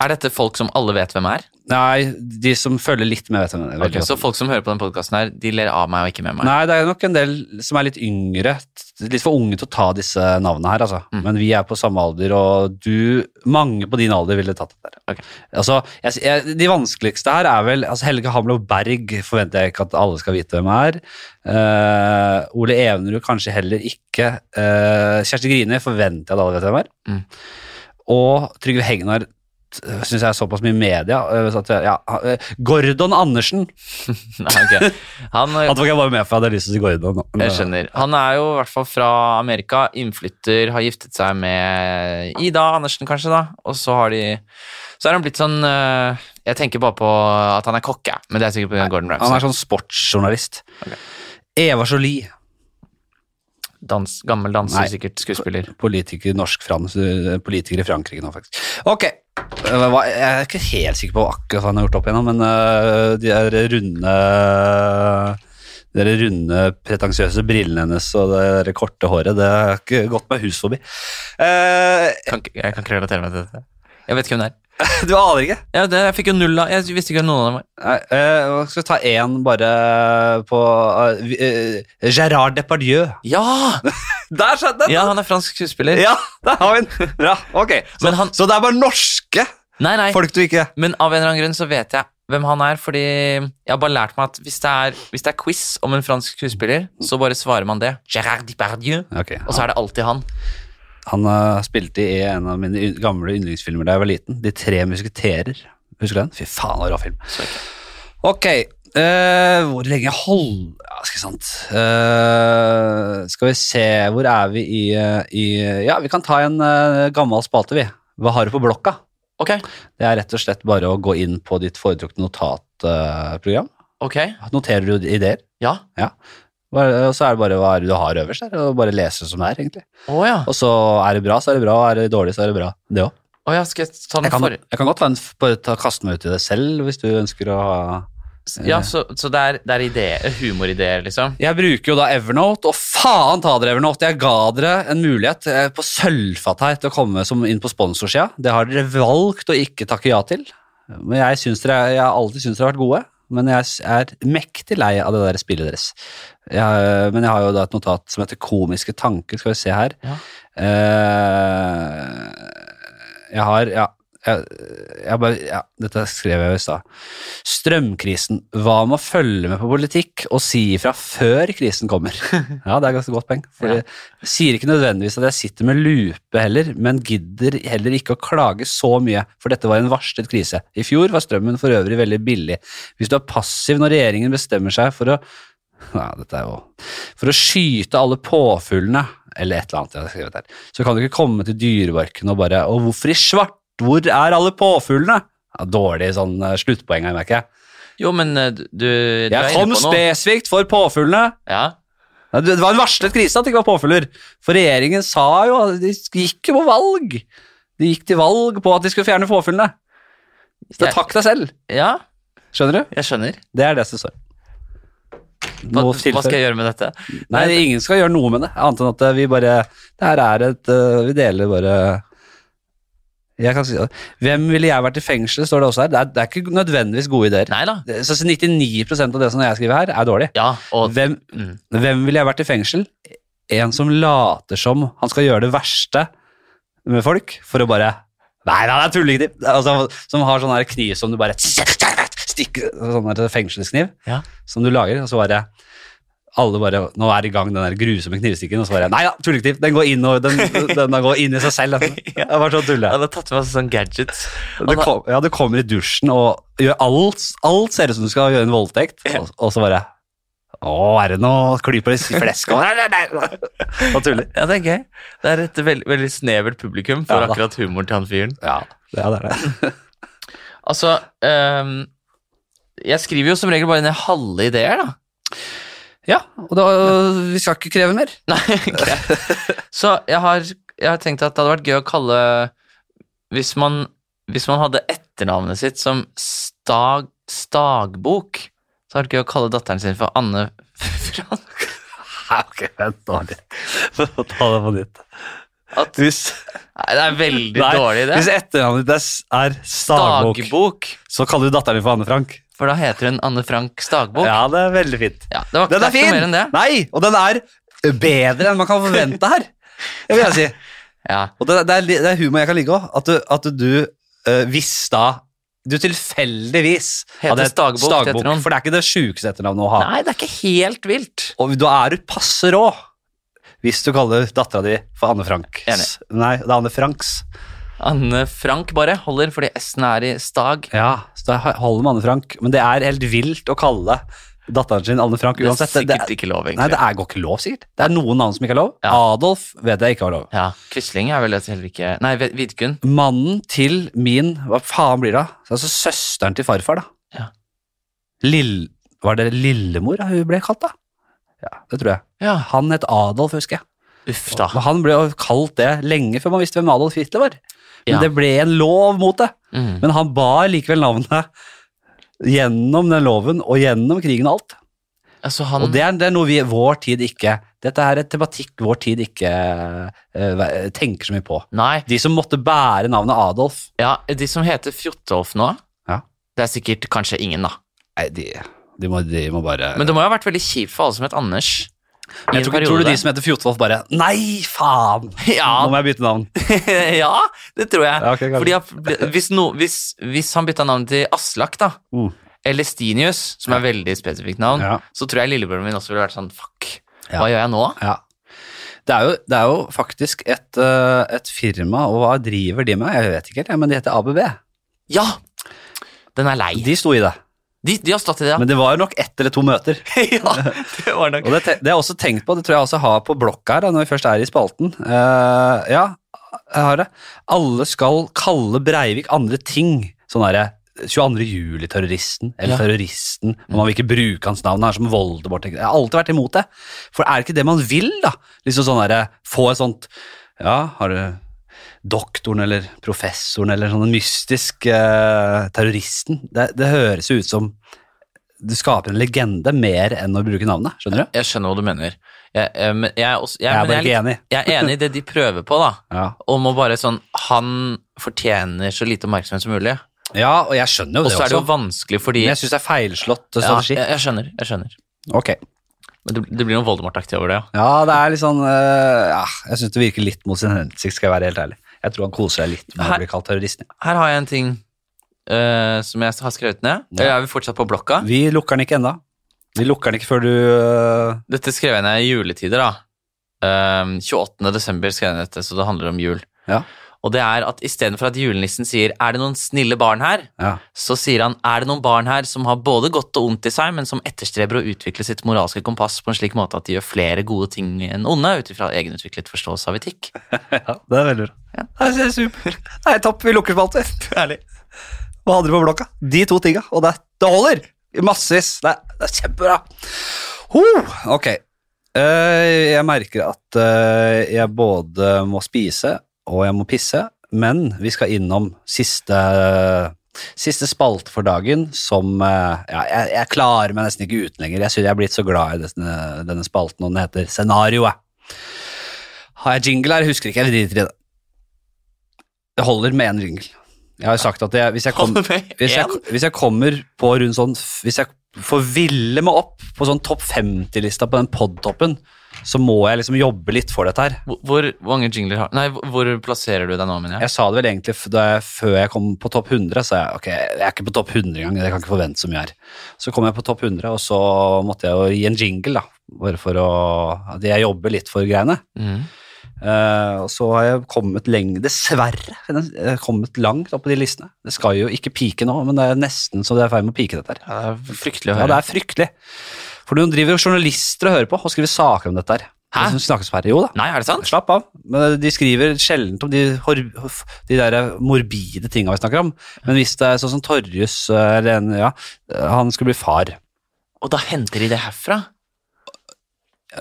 [SPEAKER 2] Er dette folk som alle vet hvem er?
[SPEAKER 1] Nei, de som følger litt med, vet hvem det er.
[SPEAKER 2] Ok, så folk som hører på den podkasten her, de ler av meg og ikke med meg?
[SPEAKER 1] Nei, det er nok en del som er litt yngre, t- litt for unge til å ta disse navnene her, altså.
[SPEAKER 2] Mm.
[SPEAKER 1] Men vi er på samme alder, og du, mange på din alder ville tatt det der.
[SPEAKER 2] Ok.
[SPEAKER 1] Altså, jeg, jeg, de vanskeligste her er vel, altså Helge Hamlov Berg forventer jeg ikke at alle skal vite hvem er. Eh, Ole Evenrud kanskje heller ikke. Eh, Kjersti Grine forventer jeg at alle vet hvem er.
[SPEAKER 2] Mm.
[SPEAKER 1] Og Trygve Hegnar syns jeg er såpass mye i media. eh, så At jeg, ja, eh, Gordon Andersen!
[SPEAKER 2] Nei, ok. Han,
[SPEAKER 1] Han tok jeg bare med for jeg hadde lyst til å si Gordon.
[SPEAKER 2] jeg skjønner. Han er jo i hvert fall fra Amerika, innflytter, har giftet seg med Ida Andersen, kanskje, da. Og så har de Så er han blitt sånn eh, Jeg tenker bare på at han er kokke, men det er sikkert pga. Gordon
[SPEAKER 1] Han
[SPEAKER 2] Ramsay.
[SPEAKER 1] er sånn sportsjournalist. Eva Jolie,
[SPEAKER 2] Dans, gammel danser,
[SPEAKER 1] Nei.
[SPEAKER 2] sikkert skuespiller.
[SPEAKER 1] politiker, norsk frans, politiker i Frankrike nå, faktisk. Ok, jeg var- jeg er ikke helt sikker på akkurat hva han har gjort opp igjennom, men øh, de der runde de der runde, pretensiøse brillene hennes og det der korte håret, det har ikke gått meg hus forbi. Eh,
[SPEAKER 2] Kan, ikke- jeg kan ikke relatere meg til dette. Jeg vet ikke hvem det er.
[SPEAKER 1] du aner ikke?
[SPEAKER 2] Ja, det, jeg fikk jo null av Jeg visste ikke hvem noen av dem var.
[SPEAKER 1] Nei, eh, skal vi ta én bare på eh, vi- eh, Gérard Depardieu.
[SPEAKER 2] Ja!
[SPEAKER 1] Der satt den!
[SPEAKER 2] ja! Han er fransk skuespiller.
[SPEAKER 1] Ja, der har vi den! Bra, ok. Så,
[SPEAKER 2] Men han-
[SPEAKER 1] så det er bare norske
[SPEAKER 2] Nei, nei.
[SPEAKER 1] folk du ikke
[SPEAKER 2] Men av en eller annen grunn så vet jeg hvem han er, fordi jeg har bare lært meg at hvis det er, hvis det er quiz om en fransk skuespiller, så bare svarer man det. Gérard Depardieu. Og så er det alltid han.
[SPEAKER 1] Han eh, spilte i en av mine y- gamle yndlingsfilmer da jeg var liten. De tre musketerer. Husker du den? Fy faen, det var en rå film. Ok, eh, hvor lenge hold... Ja, skal sant. Eh, skal vi se, hvor er vi i, eh, i Ja, vi kan ta en eh, gammel spalte, vi. Hva har du på blokka?
[SPEAKER 2] Ok,
[SPEAKER 1] Det er rett og slett bare å gå inn på ditt foretrukne notatprogram.
[SPEAKER 2] ok,
[SPEAKER 1] Noterer du ideer?
[SPEAKER 2] ja.
[SPEAKER 1] Bare- Og så er det bare hva er det du har øverst der, og bare lese som det er, egentlig.
[SPEAKER 2] Å ja.
[SPEAKER 1] Og så er det bra, så er det bra, og er det dårlig, så er det bra. Det òg.
[SPEAKER 2] Å ja, skal jeg ta den
[SPEAKER 1] Jeg, kan-
[SPEAKER 2] forrige?
[SPEAKER 1] jeg kan godt ta en, f- bare ta, kaste meg ut i det selv, hvis du ønsker å ha
[SPEAKER 2] Ja, så, så det er, det er ideer, humorideer, liksom?
[SPEAKER 1] Jeg bruker jo da Evernote, og faen ta dere Evernote! Jeg ga dere en mulighet eh, på sølvfat her til å komme som inn på sponsorsida. Det har dere valgt å ikke takke ja til. Men jeg, syns dere, jeg har alltid syntes dere har vært gode, men jeg s- er mektig lei av det der spillet deres. Jeg, men jeg har jo da et notat som heter Komiske tanker, skal vi se her.
[SPEAKER 2] Ja.
[SPEAKER 1] Eh, jeg har Ja, jeg, jeg bare, ja dette skrev jeg jo i stad. Strømkrisen. Hva med å følge med på politikk og si ifra før krisen kommer? Ja, det er ganske godt poeng. For
[SPEAKER 2] Ja.
[SPEAKER 1] jeg sier ikke nødvendigvis at jeg sitter med lupe heller, men gidder heller ikke å klage så mye, for dette var en varslet krise. I fjor var strømmen for øvrig veldig billig. Hvis du er passiv når regjeringen bestemmer seg for å Nei, dette er jo For å skyte alle påfuglene, eller et eller annet jeg har skrevet her, så kan du ikke komme til dyreparken og bare Å, hvorfor i svart? Hvor er alle påfuglene? Ja, dårlig sånn eh, sluttpoeng her, merker jeg.
[SPEAKER 2] Jo, men eh, du, du er
[SPEAKER 1] Jeg kom
[SPEAKER 2] inne på noe.
[SPEAKER 1] spesifikt for påfuglene.
[SPEAKER 2] Ja.
[SPEAKER 1] Nei, Det det var en varslet krise at det ikke var påfugler. For regjeringen sa jo De gikk jo på valg. De gikk til valg på at de skulle fjerne påfuglene. Så
[SPEAKER 2] Jeg-
[SPEAKER 1] takk deg selv.
[SPEAKER 2] ja,
[SPEAKER 1] Skjønner du?
[SPEAKER 2] jeg skjønner.
[SPEAKER 1] Det er det som står.
[SPEAKER 2] Hva,
[SPEAKER 1] Noe
[SPEAKER 2] hva skal jeg gjøre med dette?
[SPEAKER 1] Nei, ingen skal gjøre noe med det, annet enn at eh, vi bare Det her er et øh, Vi deler bare jeg kan si det. Hvem ville jeg vært i fengsel, står det også her. Det er, det er ikke nødvendigvis gode ideer.
[SPEAKER 2] Nei da.
[SPEAKER 1] Det- Så 99 av det som jeg skriver her, er dårlig.
[SPEAKER 2] Ja, og
[SPEAKER 1] Hvem,
[SPEAKER 2] mm.
[SPEAKER 1] Hvem ville jeg vært i fengsel? En som later som han skal gjøre det verste med folk, for å bare Nei, nei, det er tullekniv! Altså, som har sånn her kniv som du bare stikker Sånn her fengselskniv
[SPEAKER 2] Ja.
[SPEAKER 1] som du lager, og så bare alle bare, Nå er i gang den der grusomme knivstikken, og så bare Nei da, tullekniv! Den går inn, og den, den går inn i seg selv. Den. Det var så tulle.
[SPEAKER 2] Han har tatt med seg sånn gadgets.
[SPEAKER 1] Du, kom, ja, du kommer i dusjen og gjør alt, alt ser ut som du skal gjøre en voldtekt, og, og så bare Å, er det noe klyper i flesket? Nei, nei, nei. Og tuller.
[SPEAKER 2] Ja, det er gøy. Det er et veldig, veldig snevert publikum for
[SPEAKER 1] Ja da.
[SPEAKER 2] akkurat humoren til han fyren.
[SPEAKER 1] Ja, det er det.
[SPEAKER 2] Altså, ehm, jeg skriver jo som regel bare ned halve ideer, da.
[SPEAKER 1] Ja, og da, vi skal ikke kreve mer.
[SPEAKER 2] Nei, ok. Så jeg har, jeg har tenkt at det hadde vært gøy å kalle Hvis man, hvis man hadde etternavnet sitt som stag, Stagbok, så hadde det vært gøy å kalle datteren sin for Anne Frank.
[SPEAKER 1] Nei, ok, vent nå litt. Få ta det på nytt.
[SPEAKER 2] At,
[SPEAKER 1] Hvis,
[SPEAKER 2] nei, det er en veldig
[SPEAKER 1] nei,
[SPEAKER 2] dårlig idé.
[SPEAKER 1] hvis etternavnet ditt er s- er Stagbok,
[SPEAKER 2] Stagbok.
[SPEAKER 1] så kaller du datteren din for Anne Frank.
[SPEAKER 2] For da heter hun Anne Frank Stagbok. Ja.
[SPEAKER 1] Ja, det er veldig fint.
[SPEAKER 2] det var
[SPEAKER 1] Den er
[SPEAKER 2] ikke det er ikke
[SPEAKER 1] fin!
[SPEAKER 2] noe mer enn det.
[SPEAKER 1] Nei, og den er bedre enn man kan forvente her. Det vil jeg si.
[SPEAKER 2] Ja.
[SPEAKER 1] Og det, det, er, li- det er humor jeg kan ligge òg. At du, at du eh, hvis da du tilfeldigvis
[SPEAKER 2] Heter
[SPEAKER 1] hadde et
[SPEAKER 2] Stagbok til etternavn.
[SPEAKER 1] For det er ikke det sjukeste etternavnet å ha.
[SPEAKER 2] Nei, det er ikke helt vilt.
[SPEAKER 1] Og da er du passe rå hvis du kaller dattera di for Anne Franks.
[SPEAKER 2] Enig.
[SPEAKER 1] Nei, det er Anne Franks.
[SPEAKER 2] Anne Frank bare holder fordi S-en er i stag.
[SPEAKER 1] Ja, så da holder med Anne Frank. Men det er helt vilt å kalle datteren sin Anne Frank
[SPEAKER 2] Det er
[SPEAKER 1] uansett. Det-
[SPEAKER 2] sikkert
[SPEAKER 1] det,
[SPEAKER 2] ikke lov,
[SPEAKER 1] nei,
[SPEAKER 2] egentlig.
[SPEAKER 1] det er, går ikke lov, sikkert. Det er noen navn som ikke er lov.
[SPEAKER 2] Ja.
[SPEAKER 1] Adolf vet jeg ikke var lov.
[SPEAKER 2] Ja, Quisling er vel et heller ikke Nei, Vid- Vidkun.
[SPEAKER 1] Mannen til min Hva faen blir det? da? Altså søsteren til farfar, da.
[SPEAKER 2] Ja.
[SPEAKER 1] Lill, var det Lillemor da hun ble kalt, da? Ja, det tror jeg.
[SPEAKER 2] Ja,
[SPEAKER 1] Han het Adolf, husker jeg.
[SPEAKER 2] uff da.
[SPEAKER 1] Men Han ble jo kalt det lenge før man visste hvem Adolf Hitler var. Men
[SPEAKER 2] Ja.
[SPEAKER 1] det ble en lov mot det.
[SPEAKER 2] Mm.
[SPEAKER 1] Men han bar likevel navnet gjennom den loven og gjennom krigen og alt.
[SPEAKER 2] Altså, han
[SPEAKER 1] Og det er, det er noe vi vår tid ikke Dette er et tematikk vår tid ikke eh, ve- tenker så mye på.
[SPEAKER 2] Nei.
[SPEAKER 1] De som måtte bære navnet Adolf
[SPEAKER 2] Ja, de som heter Fjotolf nå,
[SPEAKER 1] Ja.
[SPEAKER 2] det er sikkert kanskje ingen, da.
[SPEAKER 1] Nei, de, de, må, de må bare
[SPEAKER 2] Men det må jo ha vært veldig kjipt for alle som het Anders. i
[SPEAKER 1] jeg
[SPEAKER 2] en
[SPEAKER 1] tror, ikke- tror du
[SPEAKER 2] periode.
[SPEAKER 1] de som heter Fjotvolf bare Nei, faen!
[SPEAKER 2] Ja.
[SPEAKER 1] Nå må jeg bytte navn.
[SPEAKER 2] ja, det tror jeg.
[SPEAKER 1] Ja, ok, kanskje.
[SPEAKER 2] Fordi at, hvis, no, hvis, hvis han bytta navn til Aslak, da,
[SPEAKER 1] Mm.
[SPEAKER 2] eller Stinius, som er veldig spesifikt navn,
[SPEAKER 1] Ja.
[SPEAKER 2] så tror jeg lillebroren min også ville vært sånn Fuck,
[SPEAKER 1] Ja.
[SPEAKER 2] hva gjør jeg nå?
[SPEAKER 1] Ja. Det er jo, det er jo faktisk et, eh, et firma, og hva driver de med? Jeg vet ikke, helt, jeg, men de heter ABB.
[SPEAKER 2] Ja! Den er lei. De,
[SPEAKER 1] De sto i det.
[SPEAKER 2] de, har stått i det, ja.
[SPEAKER 1] Men det var jo nok ett eller to møter.
[SPEAKER 2] ja det var nok.
[SPEAKER 1] Og det, te- det har jeg også tenkt på, det tror jeg også har på blokka her, da, når vi først er i spalten. Eh, ja, jeg har det. Alle skal kalle Breivik andre ting. Sånn derre 22. juli-terroristen, eller
[SPEAKER 2] Ja.
[SPEAKER 1] terroristen. og Man vil ikke bruke hans navn, han er som Voldemort. Jeg har alltid vært imot det. For er det ikke det man vil, da? Liksom sånn derre Få et sånt Ja, har du doktoren eller professoren eller sånn en mystisk eh, terroristen. Det, det høres jo ut som du skaper en legende mer enn å bruke navnet, skjønner du?
[SPEAKER 2] Jeg skjønner hva du mener. Jeg, eh, men jeg, er også, jeg,
[SPEAKER 1] Jeg er
[SPEAKER 2] men
[SPEAKER 1] bare
[SPEAKER 2] jeg,
[SPEAKER 1] ikke
[SPEAKER 2] er litt,
[SPEAKER 1] enig.
[SPEAKER 2] jeg er enig i det de prøver på, da.
[SPEAKER 1] Ja.
[SPEAKER 2] Om å bare sånn Han fortjener så lite oppmerksomhet som mulig.
[SPEAKER 1] ja, og jeg skjønner jo
[SPEAKER 2] Og
[SPEAKER 1] det
[SPEAKER 2] så er det
[SPEAKER 1] også.
[SPEAKER 2] jo vanskelig fordi
[SPEAKER 1] Men jeg syns det er feilslått
[SPEAKER 2] ja,
[SPEAKER 1] strategi.
[SPEAKER 2] jeg, jeg skjønner. jeg skjønner
[SPEAKER 1] Ok.
[SPEAKER 2] Men det, det blir noe Voldemort-aktig over det, ja.
[SPEAKER 1] Ja, det er litt sånn eh, ja, Jeg syns det virker litt mot sin hensikt, skal jeg være helt ærlig. Jeg tror han koser seg litt med
[SPEAKER 2] Her-
[SPEAKER 1] å bli kalt terroristen. ja.
[SPEAKER 2] Her har jeg en ting eh, som jeg har skrevet ned.
[SPEAKER 1] Ja.
[SPEAKER 2] Jeg er vel fortsatt på blokka.
[SPEAKER 1] Vi lukker den ikke ennå. Vi lukker den ikke før du eh,
[SPEAKER 2] Dette skrev jeg ned i juletider, da. Um, 28. desember skrev jeg ned dette, så det handler om jul.
[SPEAKER 1] Ja.
[SPEAKER 2] Og det er at istedenfor at julenissen sier 'er det noen snille barn her',
[SPEAKER 1] Ja.
[SPEAKER 2] så sier han 'er det noen barn her som har både godt og ondt i seg, men som etterstreber å utvikle sitt moralske kompass på en slik måte at de gjør flere gode ting enn onde', ut ifra egenutviklet forståelse av etikk.
[SPEAKER 1] ja, det er veldig bra.
[SPEAKER 2] Ja.
[SPEAKER 1] Det er supert. Nei, topp. Vi lukker spalter. Ærlig. Hva hadde du på blokka? De to tinga. Og det, det holder! I Massevis. Det, er- det er kjempebra. Ho! Ok. Eh, jeg merker at eh, jeg både må spise og jeg må pisse, men vi skal innom siste Siste spalte for dagen som eh, ja, jeg, jeg klarer meg nesten ikke uten lenger. Jeg synes jeg er blitt så glad i denne, denne spalten, og den heter Scenarioet. Har jeg jingle her? Jeg Husker ikke. Jeg driter i det. Det holder med én jingle. Jeg har jo sagt at jeg, hvis jeg kommer hvis jeg, hvis jeg kommer på rundt sånn Hvis jeg får ville meg opp på sånn topp 50-lista på den podtoppen, så må jeg liksom jobbe litt for dette her.
[SPEAKER 2] Hvor, hvor mange jingler har Nei, hvor- hvor plasserer du deg nå, mener jeg?
[SPEAKER 1] Jeg sa det vel egentlig f- da jeg, før jeg kom på topp 100, sa jeg ok, jeg er ikke på topp 100 engang, jeg kan ikke forvente så mye her. Så kom jeg på topp 100, og så måtte jeg jo gi en jingle, da, bare for å at Jeg jobber litt for greiene.
[SPEAKER 2] Mhm.
[SPEAKER 1] Eh, og så har jeg kommet lenge, dessverre, jeg har kommet langt opp på de listene. Det skal jo ikke pike nå, men det er nesten så det er i ferd med å pike dette her.
[SPEAKER 2] Ja, det er fryktelig å
[SPEAKER 1] Ja,
[SPEAKER 2] høre.
[SPEAKER 1] det er fryktelig. For noen driver jo journalister og hører på og skriver saker om dette her.
[SPEAKER 2] Hæ?
[SPEAKER 1] Det som snakkes om her. Jo da.
[SPEAKER 2] Nei, er det sant?
[SPEAKER 1] Slapp av. Men de skriver sjelden om de, hor- de der morbide tinga vi snakker om. Men hvis det er sånn som Torjus eller en, ja, Han skulle bli far.
[SPEAKER 2] Og da henter de det herfra?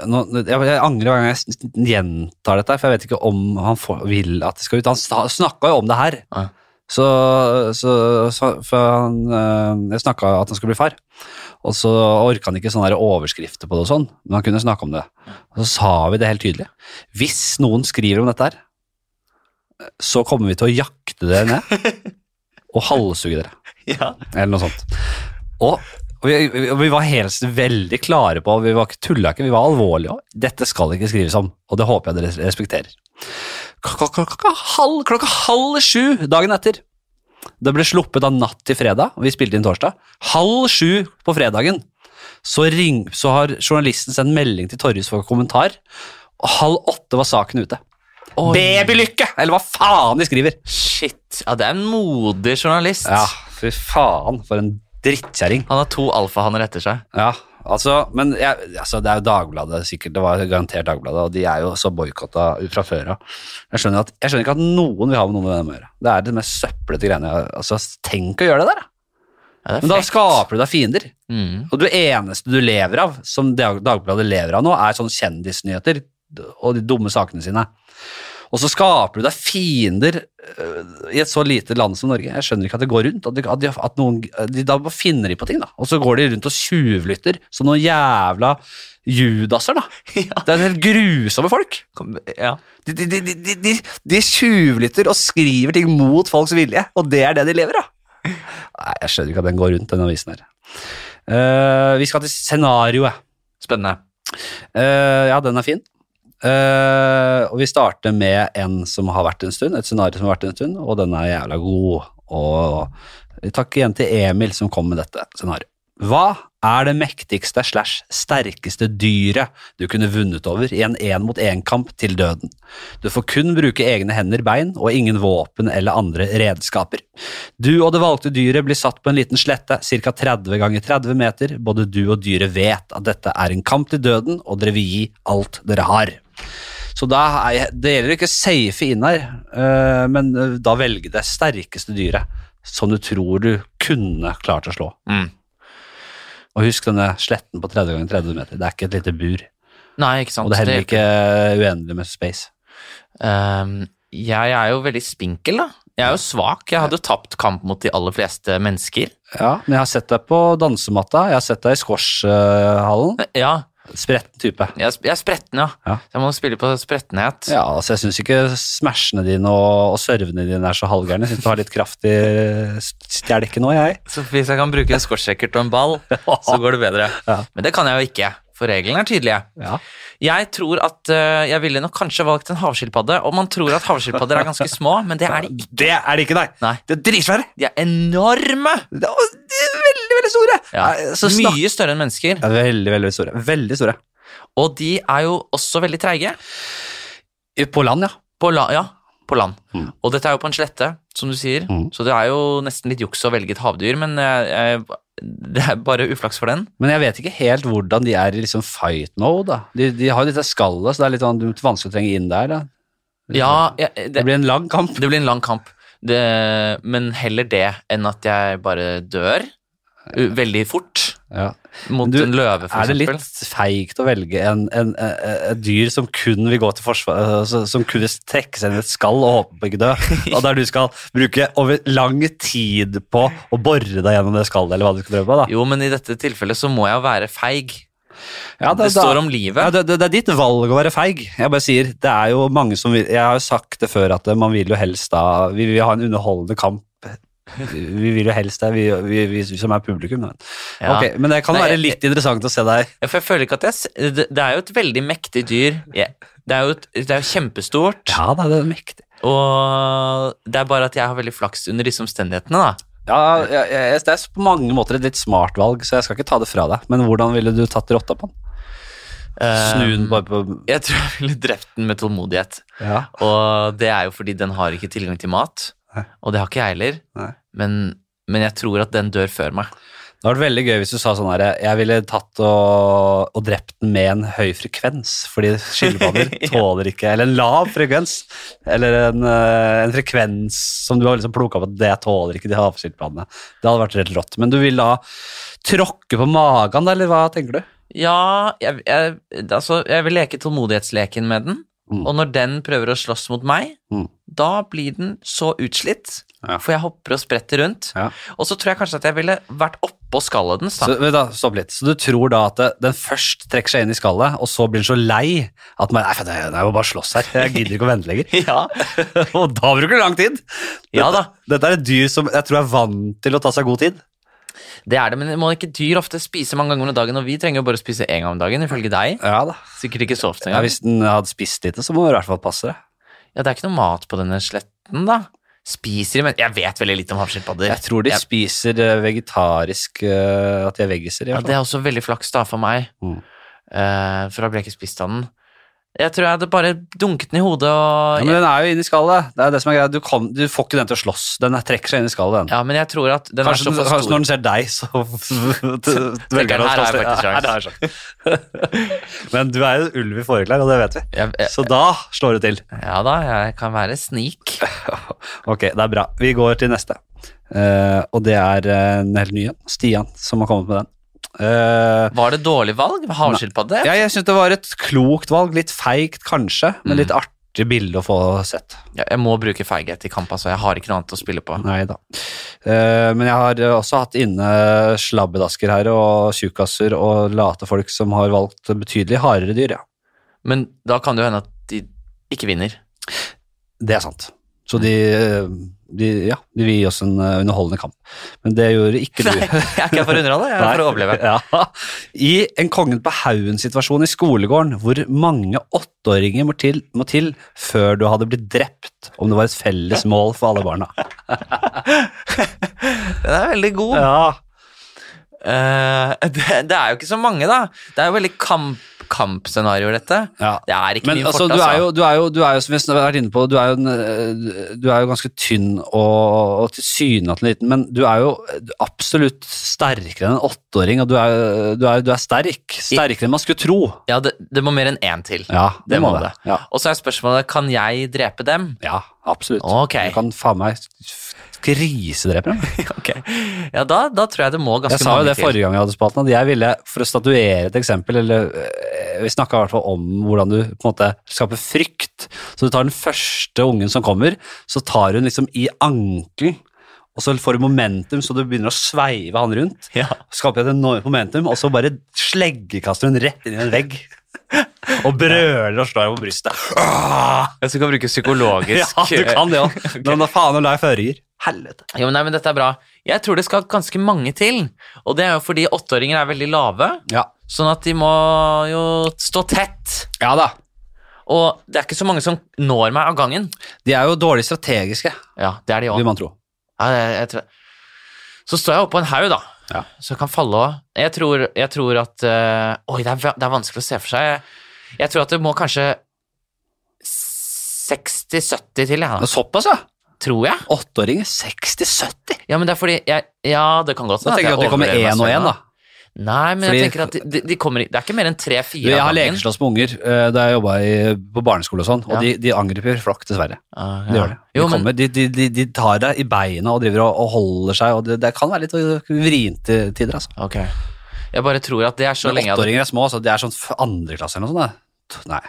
[SPEAKER 1] Nå, jeg, jeg angrer hver gang jeg s- gjentar dette, for jeg vet ikke om han får, vil at det skal ut. Han sna- snakka jo om det her.
[SPEAKER 2] Ja.
[SPEAKER 1] Så, så, så for han, eh, Jeg snakka at han skulle bli far, og så orka han ikke sånne der overskrifter på det, og sånn, men han kunne snakke om det. Og så sa vi det helt tydelig. Hvis noen skriver om dette her, så kommer vi til å jakte dere ned og halshugge dere
[SPEAKER 2] Ja.
[SPEAKER 1] eller noe sånt. Og, og vi, vi- vi var helt veldig klare på, vi var ikke tulla ikke, vi var alvorlige også. Dette skal ikke skrives om, og det håper jeg dere respekterer. Klokka, klokka, halv, klokka halv sju dagen etter. Det ble sluppet av natt til fredag, og vi spilte inn torsdag. Halv sju på fredagen, så, ring, så har journalisten sendt melding til Torjus for kommentar, og halv åtte var saken ute.
[SPEAKER 2] Oi.
[SPEAKER 1] Babylykke! Eller hva faen de skriver.
[SPEAKER 2] Shit. Ja, det er en modig journalist.
[SPEAKER 1] Ja, fy faen, for en drittkjerring.
[SPEAKER 2] Han har to alfahanner etter seg.
[SPEAKER 1] Ja, altså, men jeg, altså, det er jo Dagbladet sikkert, det var garantert Dagbladet, og de er jo så boikotta fra før av. Jeg, skjønner at- jeg skjønner ikke at noen vil ha med noe med dem å gjøre. Det er det mest søplete greiene. jeg- Altså, tenk å gjøre det der, da.
[SPEAKER 2] Ja, det er
[SPEAKER 1] Men da
[SPEAKER 2] frekt.
[SPEAKER 1] skaper du deg fiender.
[SPEAKER 2] Mm.
[SPEAKER 1] Og det eneste du lever av, som Dag- Dagbladet lever av nå, er sånne kjendisnyheter og de dumme sakene sine. Og så skaper du deg fiender øh, i et så lite land som Norge. Jeg skjønner ikke at det går rundt. At, de, at, de, at noen, de, Da bare finner de på ting, da. Og så går de rundt og tjuvlytter som noen jævla judaser, da. Det er helt grusomme folk.
[SPEAKER 2] Kom, ja.
[SPEAKER 1] De, de, de, de, de, de tjuvlytter og skriver ting mot folks vilje, og det er det de lever av. Nei, jeg skjønner ikke at den går rundt, den avisen her. Eh, vi skal til scenarioet.
[SPEAKER 2] Spennende.
[SPEAKER 1] Eh, ja, den er fin. Eh, og vi starter med en som har vært en stund, et scenario som har vært en stund, og den er jævla god. Og takk igjen til Emil som kom med dette scenarioet. Hva er det mektigste slash sterkeste dyret du kunne vunnet over i en én-mot-én-kamp til døden? Du får kun bruke egne hender, bein og ingen våpen eller andre redskaper. Du og det valgte dyret blir satt på en liten slette, ca. 30 ganger 30 meter. Både du og dyret vet at dette er en kamp til døden, og dere vil gi alt dere har. Så da er jeg, det gjelder ikke å safe inn her, eh, men eh, da velge det sterkeste dyret som du tror du kunne klart å slå.
[SPEAKER 2] Mm.
[SPEAKER 1] Og husk denne sletten på 30 ganger 30 meter, det er ikke et lite bur.
[SPEAKER 2] Nei, ikke sant.
[SPEAKER 1] Og det er heller
[SPEAKER 2] Det-
[SPEAKER 1] ikke uendelig med space.
[SPEAKER 2] Ehm, jeg er jo veldig spinkel, da. Jeg er jo svak. Jeg hadde jo tapt kamp mot de aller fleste mennesker.
[SPEAKER 1] Ja, men jeg har sett deg på dansematta, jeg har sett deg i squashhallen.
[SPEAKER 2] Ja,
[SPEAKER 1] Spretten type.
[SPEAKER 2] jeg er sp- jeg er spretten, ja.
[SPEAKER 1] Ja.
[SPEAKER 2] Så jeg må spille på sprettenhet.
[SPEAKER 1] Ja, altså jeg syns ikke smashene dine og, og servene dine er så halvgærne. Jeg syns du har litt kraft i stjelken nå, jeg.
[SPEAKER 2] Så hvis jeg kan bruke en skorsekkert og en ball, så går det bedre.
[SPEAKER 1] Ja.
[SPEAKER 2] Men det kan jeg jo ikke, for reglene er tydelige.
[SPEAKER 1] Ja.
[SPEAKER 2] Jeg tror at øh, jeg ville nok kanskje valgt en havskilpadde, og man tror at havskilpadder er ganske små, men det er de ikke.
[SPEAKER 1] Det er det ikke, nei.
[SPEAKER 2] Nei.
[SPEAKER 1] Det er dritsvære.
[SPEAKER 2] De er enorme!
[SPEAKER 1] Det er det er veldig, veldig store.
[SPEAKER 2] Ja.
[SPEAKER 1] Nei, altså, Så snak...
[SPEAKER 2] Mye større enn mennesker.
[SPEAKER 1] Ja, veldig, veldig store. Veldig store.
[SPEAKER 2] Og de er jo også veldig treige.
[SPEAKER 1] På land, ja.
[SPEAKER 2] På la ja, på land.
[SPEAKER 1] Mm.
[SPEAKER 2] Og dette er jo på en slette, som du sier.
[SPEAKER 1] Mm.
[SPEAKER 2] Så det er jo nesten litt juks å velge et havdyr, men jeg, jeg, det er bare uflaks for den.
[SPEAKER 1] Men jeg vet ikke helt hvordan de er i liksom fight mode. da. De, de har jo dette skallet, så det er litt sånn, det er vanskelig å trenge inn der. da.
[SPEAKER 2] Ja, jeg,
[SPEAKER 1] Det
[SPEAKER 2] det,
[SPEAKER 1] blir en lang kamp.
[SPEAKER 2] det blir en lang kamp. Det, men heller det enn at jeg bare dør u- veldig fort
[SPEAKER 1] Ja.
[SPEAKER 2] mot
[SPEAKER 1] Men du,
[SPEAKER 2] en løve, for
[SPEAKER 1] Er det
[SPEAKER 2] eksempel.
[SPEAKER 1] litt feigt å velge en, en, eh, et dyr som kun vil gå til forsvar, eh, altså, som kun vil trekke seg inn i et skall og håpe på ikke dø, og der du skal bruke over lang tid på å bore deg gjennom det skallet, eller hva du skal prøve på? da?
[SPEAKER 2] Jo, men i dette tilfellet så må jeg være feig.
[SPEAKER 1] Ja,
[SPEAKER 2] Det
[SPEAKER 1] da-
[SPEAKER 2] står om livet.
[SPEAKER 1] Ja, det, det, det er ditt valg å være feig. Jeg bare sier, det er jo mange som vil, Jeg har jo sagt det før at man vil jo helst da Vi vil ha en underholdende kamp. Vi vil jo helst det, vi, vi, vi, som er publikum. Men,
[SPEAKER 2] Ja.
[SPEAKER 1] Ok, men det kan
[SPEAKER 2] Nei,
[SPEAKER 1] være
[SPEAKER 2] jeg-
[SPEAKER 1] litt interessant å se deg
[SPEAKER 2] Ja, For jeg føler ikke at jeg s- Det, det er jo et veldig mektig dyr. Jeg- Det er jo, et, det er jo kjempestort.
[SPEAKER 1] Ja, da, det er mektig.
[SPEAKER 2] Og det er bare at jeg har veldig flaks under disse omstendighetene, da.
[SPEAKER 1] Ja, jeg, jeg, Det er på mange måter et litt smart valg, så jeg skal ikke ta det fra deg. Men hvordan ville du tatt rotta på den? Snu den bare på
[SPEAKER 2] Eh, Jeg tror jeg ville drept den med tålmodighet.
[SPEAKER 1] Ja,
[SPEAKER 2] Og det er jo fordi den har ikke tilgang til mat.
[SPEAKER 1] Nei.
[SPEAKER 2] Og det har ikke jeg heller.
[SPEAKER 1] Nei.
[SPEAKER 2] Men, men jeg tror at den dør før meg.
[SPEAKER 1] Det hadde vært veldig gøy hvis du sa sånn her Jeg ville tatt og, og drept den med en høy frekvens, fordi skilpadder tåler ikke Eller en lav frekvens. Eller en, eh, en frekvens som du har liksom plukka opp at det tåler ikke de havskilpaddene. Det hadde vært rett rått. Men du vil da tråkke på magen, da, eller hva tenker du?
[SPEAKER 2] Ja, jeg, jeg, altså, jeg vil leke tålmodighetsleken med den.
[SPEAKER 1] Mm.
[SPEAKER 2] Og når den prøver å slåss mot meg,
[SPEAKER 1] Mm.
[SPEAKER 2] da blir den så utslitt.
[SPEAKER 1] Ja.
[SPEAKER 2] For jeg hopper og spretter rundt.
[SPEAKER 1] Ja.
[SPEAKER 2] Og så tror jeg kanskje at jeg ville vært oppå skallet dens.
[SPEAKER 1] Så,
[SPEAKER 2] da.
[SPEAKER 1] vent da, stopp litt. Så du tror da at det, den først trekker seg inn i skallet, og så blir den så lei at man, nei, for det, det er jo bare å slåss her. Jeg gidder ikke å vente lenger.
[SPEAKER 2] Ja.
[SPEAKER 1] og da bruker det lang tid.
[SPEAKER 2] Ja da.
[SPEAKER 1] Dette er et dyr som jeg tror er vant til å ta seg god tid.
[SPEAKER 2] Det er det, men må ikke dyr ofte spise mange ganger om dagen? Og vi trenger jo bare å spise én gang om dagen, ifølge deg.
[SPEAKER 1] Ja da.
[SPEAKER 2] Sikkert ikke så ofte
[SPEAKER 1] Ja,
[SPEAKER 2] engang.
[SPEAKER 1] hvis den hadde spist lite, så må det i hvert fall passe det.
[SPEAKER 2] Ja, det er ikke noe mat på denne sletten, da. Spiser de men Jeg vet veldig lite om havskilpadder.
[SPEAKER 1] Jeg tror de
[SPEAKER 2] Ja.
[SPEAKER 1] spiser eh, vegetarisk eh, At de er veggiser, i
[SPEAKER 2] Ja,
[SPEAKER 1] hvert
[SPEAKER 2] det
[SPEAKER 1] fall.
[SPEAKER 2] er også veldig flaks da for meg,
[SPEAKER 1] Mm.
[SPEAKER 2] Eh, for da ble jeg ikke spist av den. Jeg tror jeg hadde bare dunket den i hodet
[SPEAKER 1] Ja,
[SPEAKER 2] og
[SPEAKER 1] men den er jo inni skallet. Det er det som er greia. Du, kan, du får ikke den til å slåss. Den er- trekker seg inn i skallet, den.
[SPEAKER 2] Ja, men jeg tror at den
[SPEAKER 1] Kanskje,
[SPEAKER 2] er
[SPEAKER 1] den-
[SPEAKER 2] såpass
[SPEAKER 1] kanskje
[SPEAKER 2] stor.
[SPEAKER 1] når den ser deg, så velger den å
[SPEAKER 2] her
[SPEAKER 1] slåss.
[SPEAKER 2] er jeg faktisk
[SPEAKER 1] Ja, her er jeg sjans. Men du er jo en ulv i foreklær, og det vet vi.
[SPEAKER 2] Jeg, jeg,
[SPEAKER 1] Så da slår det til.
[SPEAKER 2] ja da, jeg kan være snik.
[SPEAKER 1] Ok, det er bra. Vi går til neste. Eh, og det er eh, en helt ny en. Stian som har kommet med den. Eh,
[SPEAKER 2] Var det dårlig valg? Havskilpadde?
[SPEAKER 1] ja, jeg syns det var et klokt valg. Litt feigt kanskje, men litt artig bilde å få sett.
[SPEAKER 2] Ja, Jeg må bruke feighet i kamp, altså. Jeg har ikke noe annet å spille på.
[SPEAKER 1] Nei da. Eh, men jeg har eh, også hatt inne slabbedasker her og tjukkaser og late folk som har valgt betydelig hardere dyr, ja.
[SPEAKER 2] Men da kan det jo hende at de ikke vinner.
[SPEAKER 1] Det er sant. Så de, eh, de, ja, de vil gi oss en eh, underholdende kamp. Men det gjorde ikke du.
[SPEAKER 2] Jeg er ikke for å underholde, jeg er for å overleve.
[SPEAKER 1] Ja. I en Kongen på haugen-situasjon i skolegården, hvor mange åtteåringer må til, må til før du hadde blitt drept, om det var et felles mål for alle barna.
[SPEAKER 2] Den er veldig god.
[SPEAKER 1] Ja,
[SPEAKER 2] Eh, det, det er jo ikke så mange, da. Det er jo veldig kamp, kampscenario, dette.
[SPEAKER 1] Ja.
[SPEAKER 2] Det er ikke
[SPEAKER 1] Men
[SPEAKER 2] mye
[SPEAKER 1] altså,
[SPEAKER 2] fort,
[SPEAKER 1] du er,
[SPEAKER 2] altså.
[SPEAKER 1] jo, du, er jo, du er jo, som vi har vært inne på, du er jo, en, øh, du er jo ganske tynn og, og tilsynelatende liten, men du er jo absolutt sterkere enn en åtteåring, og du er, du, er, du er sterk. Sterkere enn man skulle tro.
[SPEAKER 2] Ja, det, det må mer enn én til.
[SPEAKER 1] Ja,
[SPEAKER 2] det må
[SPEAKER 1] du.
[SPEAKER 2] det.
[SPEAKER 1] Ja.
[SPEAKER 2] Og så er spørsmålet kan jeg drepe dem.
[SPEAKER 1] ja, absolutt.
[SPEAKER 2] Ok.
[SPEAKER 1] Du kan faen meg grisedrepe dem.
[SPEAKER 2] Ja, da, da tror jeg det må ganske
[SPEAKER 1] Jeg sa jo
[SPEAKER 2] mange
[SPEAKER 1] det forrige gang vi hadde spalten, at jeg ville, for å statuere et eksempel, eller eh, vi snakka i hvert fall om hvordan du på en måte skaper frykt. Så du tar den første ungen som kommer, så tar hun liksom i ankelen, og så får du momentum, så du begynner å sveive han rundt.
[SPEAKER 2] til. Ja.
[SPEAKER 1] Skaper et enormt momentum, og så bare sleggekaster hun rett inn i en vegg. Og brøler og slår henne på brystet. Ah!
[SPEAKER 2] Jeg skal bruke psykologisk
[SPEAKER 1] Ja, du kan det òg. Men da faen, hun la jeg føringer. Helvete.
[SPEAKER 2] Jo, men nei, men dette er bra. Jeg tror det skal ganske mange til. Og det er jo fordi åtteåringer er veldig lave,
[SPEAKER 1] Ja.
[SPEAKER 2] sånn at de må jo stå tett.
[SPEAKER 1] ja da.
[SPEAKER 2] Og det er ikke så mange som når meg av gangen.
[SPEAKER 1] De er jo dårlig strategiske,
[SPEAKER 2] Ja, det er de òg.
[SPEAKER 1] vil man tro.
[SPEAKER 2] Ja, jeg, jeg tror. Så står jeg oppå en haug, da.
[SPEAKER 1] Ja.
[SPEAKER 2] Så jeg kan falle òg. Jeg, tror- jeg tror at eh, Oi, det er, va- det er vanskelig å se for seg. Jeg, jeg tror at det må kanskje 60-70 til, jeg,
[SPEAKER 1] Men
[SPEAKER 2] da.
[SPEAKER 1] Såpass, ja.
[SPEAKER 2] Tror jeg.
[SPEAKER 1] Åtteåringer? 60-70?
[SPEAKER 2] Ja, men det er fordi jeg, Ja, det kan godt
[SPEAKER 1] Da
[SPEAKER 2] hende
[SPEAKER 1] tenker jeg at de kommer
[SPEAKER 2] overlever meg
[SPEAKER 1] én og én,
[SPEAKER 2] selv,
[SPEAKER 1] da.
[SPEAKER 2] Nei, men
[SPEAKER 1] Fordi-
[SPEAKER 2] jeg tenker at de, de, de kommer i- Det er ikke mer enn
[SPEAKER 1] Du,
[SPEAKER 2] tre-fire
[SPEAKER 1] Jeg har lekeslåss med unger eh, da jeg jobba på barneskole og sånn, og
[SPEAKER 2] Ja.
[SPEAKER 1] de, de angriper flokk, dessverre.
[SPEAKER 2] Ah,
[SPEAKER 1] De
[SPEAKER 2] ja.
[SPEAKER 1] gjør det. De,
[SPEAKER 2] Jo, men,
[SPEAKER 1] kommer, de, de, de, de tar deg i beina og driver og, og holder seg, og det, det kan være litt vrient til tider, altså.
[SPEAKER 2] ok. Jeg bare tror at det er så
[SPEAKER 1] Men
[SPEAKER 2] lenge jeg hadde
[SPEAKER 1] Åtteåringer er små, så de er sånn f- andreklasse eller noe sånt. da. T- Nei,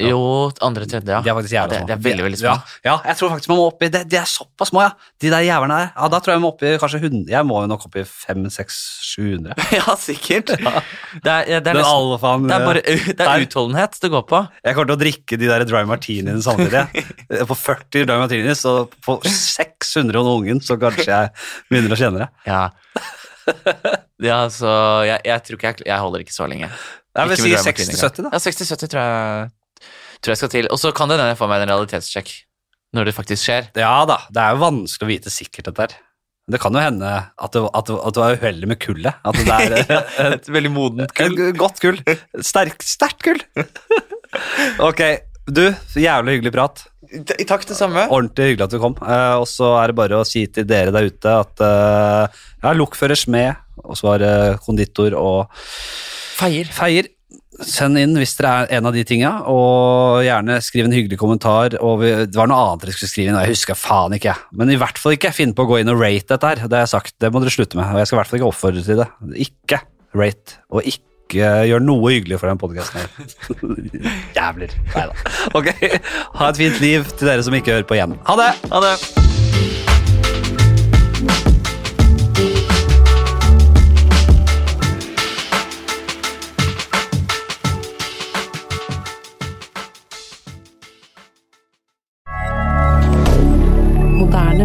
[SPEAKER 1] ja.
[SPEAKER 2] Jo, andre, tredje, ja.
[SPEAKER 1] de er faktisk
[SPEAKER 2] Ja,
[SPEAKER 1] jævla
[SPEAKER 2] det,
[SPEAKER 1] små.
[SPEAKER 2] det er veldig, veldig små.
[SPEAKER 1] Ja, ja, jeg tror faktisk man må opp i det, De er såpass små, ja. De der jævlene der. Ja, da tror jeg jeg må opp i kanskje 100 Jeg må jo nok opp i 500-600-700.
[SPEAKER 2] Ja, sikkert. Det er, det er
[SPEAKER 1] Den
[SPEAKER 2] nesten
[SPEAKER 1] alfaen
[SPEAKER 2] det er, bare, det
[SPEAKER 1] Der.
[SPEAKER 2] er utholdenhet det går på.
[SPEAKER 1] Jeg kommer til å drikke de der dry martiniene samtidig. jeg. På 40 dry martinis og på 600 og noen ungen, så kanskje jeg begynner å kjenne det.
[SPEAKER 2] Ja, ja så jeg, jeg tror ikke jeg, jeg holder ikke så lenge.
[SPEAKER 1] Jeg vil
[SPEAKER 2] Ikke
[SPEAKER 1] si
[SPEAKER 2] med dry
[SPEAKER 1] 60-70,
[SPEAKER 2] martini engang.
[SPEAKER 1] da.
[SPEAKER 2] Ja, 60-70 tror jeg, tror jeg skal til. Og så kan det hende jeg får meg en realitetssjekk når det faktisk skjer.
[SPEAKER 1] Ja da, det er jo vanskelig å vite sikkert dette her. Det kan jo hende at du, at du, at du er uheldig med kullet. At det er eh,
[SPEAKER 2] Et veldig modent
[SPEAKER 1] et godt kull. Sterk- Sterkt kull. ok, du, så jævlig hyggelig prat.
[SPEAKER 2] T- Takk, det samme.
[SPEAKER 1] Ordentlig hyggelig at du kom. Eh, og så er det bare å si til dere der ute at eh, ja, lokfører smed, og så var det konditor og
[SPEAKER 2] Feier.
[SPEAKER 1] feier. Send inn hvis dere er en av de tinga, og gjerne skriv en hyggelig kommentar. Og vi, det var noe annet dere skulle skrive inn, og jeg husker faen ikke. jeg. Men i hvert fall ikke finn på å gå inn og rate dette her. Det har jeg sagt, det må dere slutte med. Og jeg skal i hvert fall ikke oppfordre til det. Ikke rate, og ikke gjør noe hyggelig for den podkasten her. Jævler. Nei da. Ok, ha et fint liv til dere som ikke hører på igjen. Ha det!
[SPEAKER 2] Ha det.
[SPEAKER 5] Moderne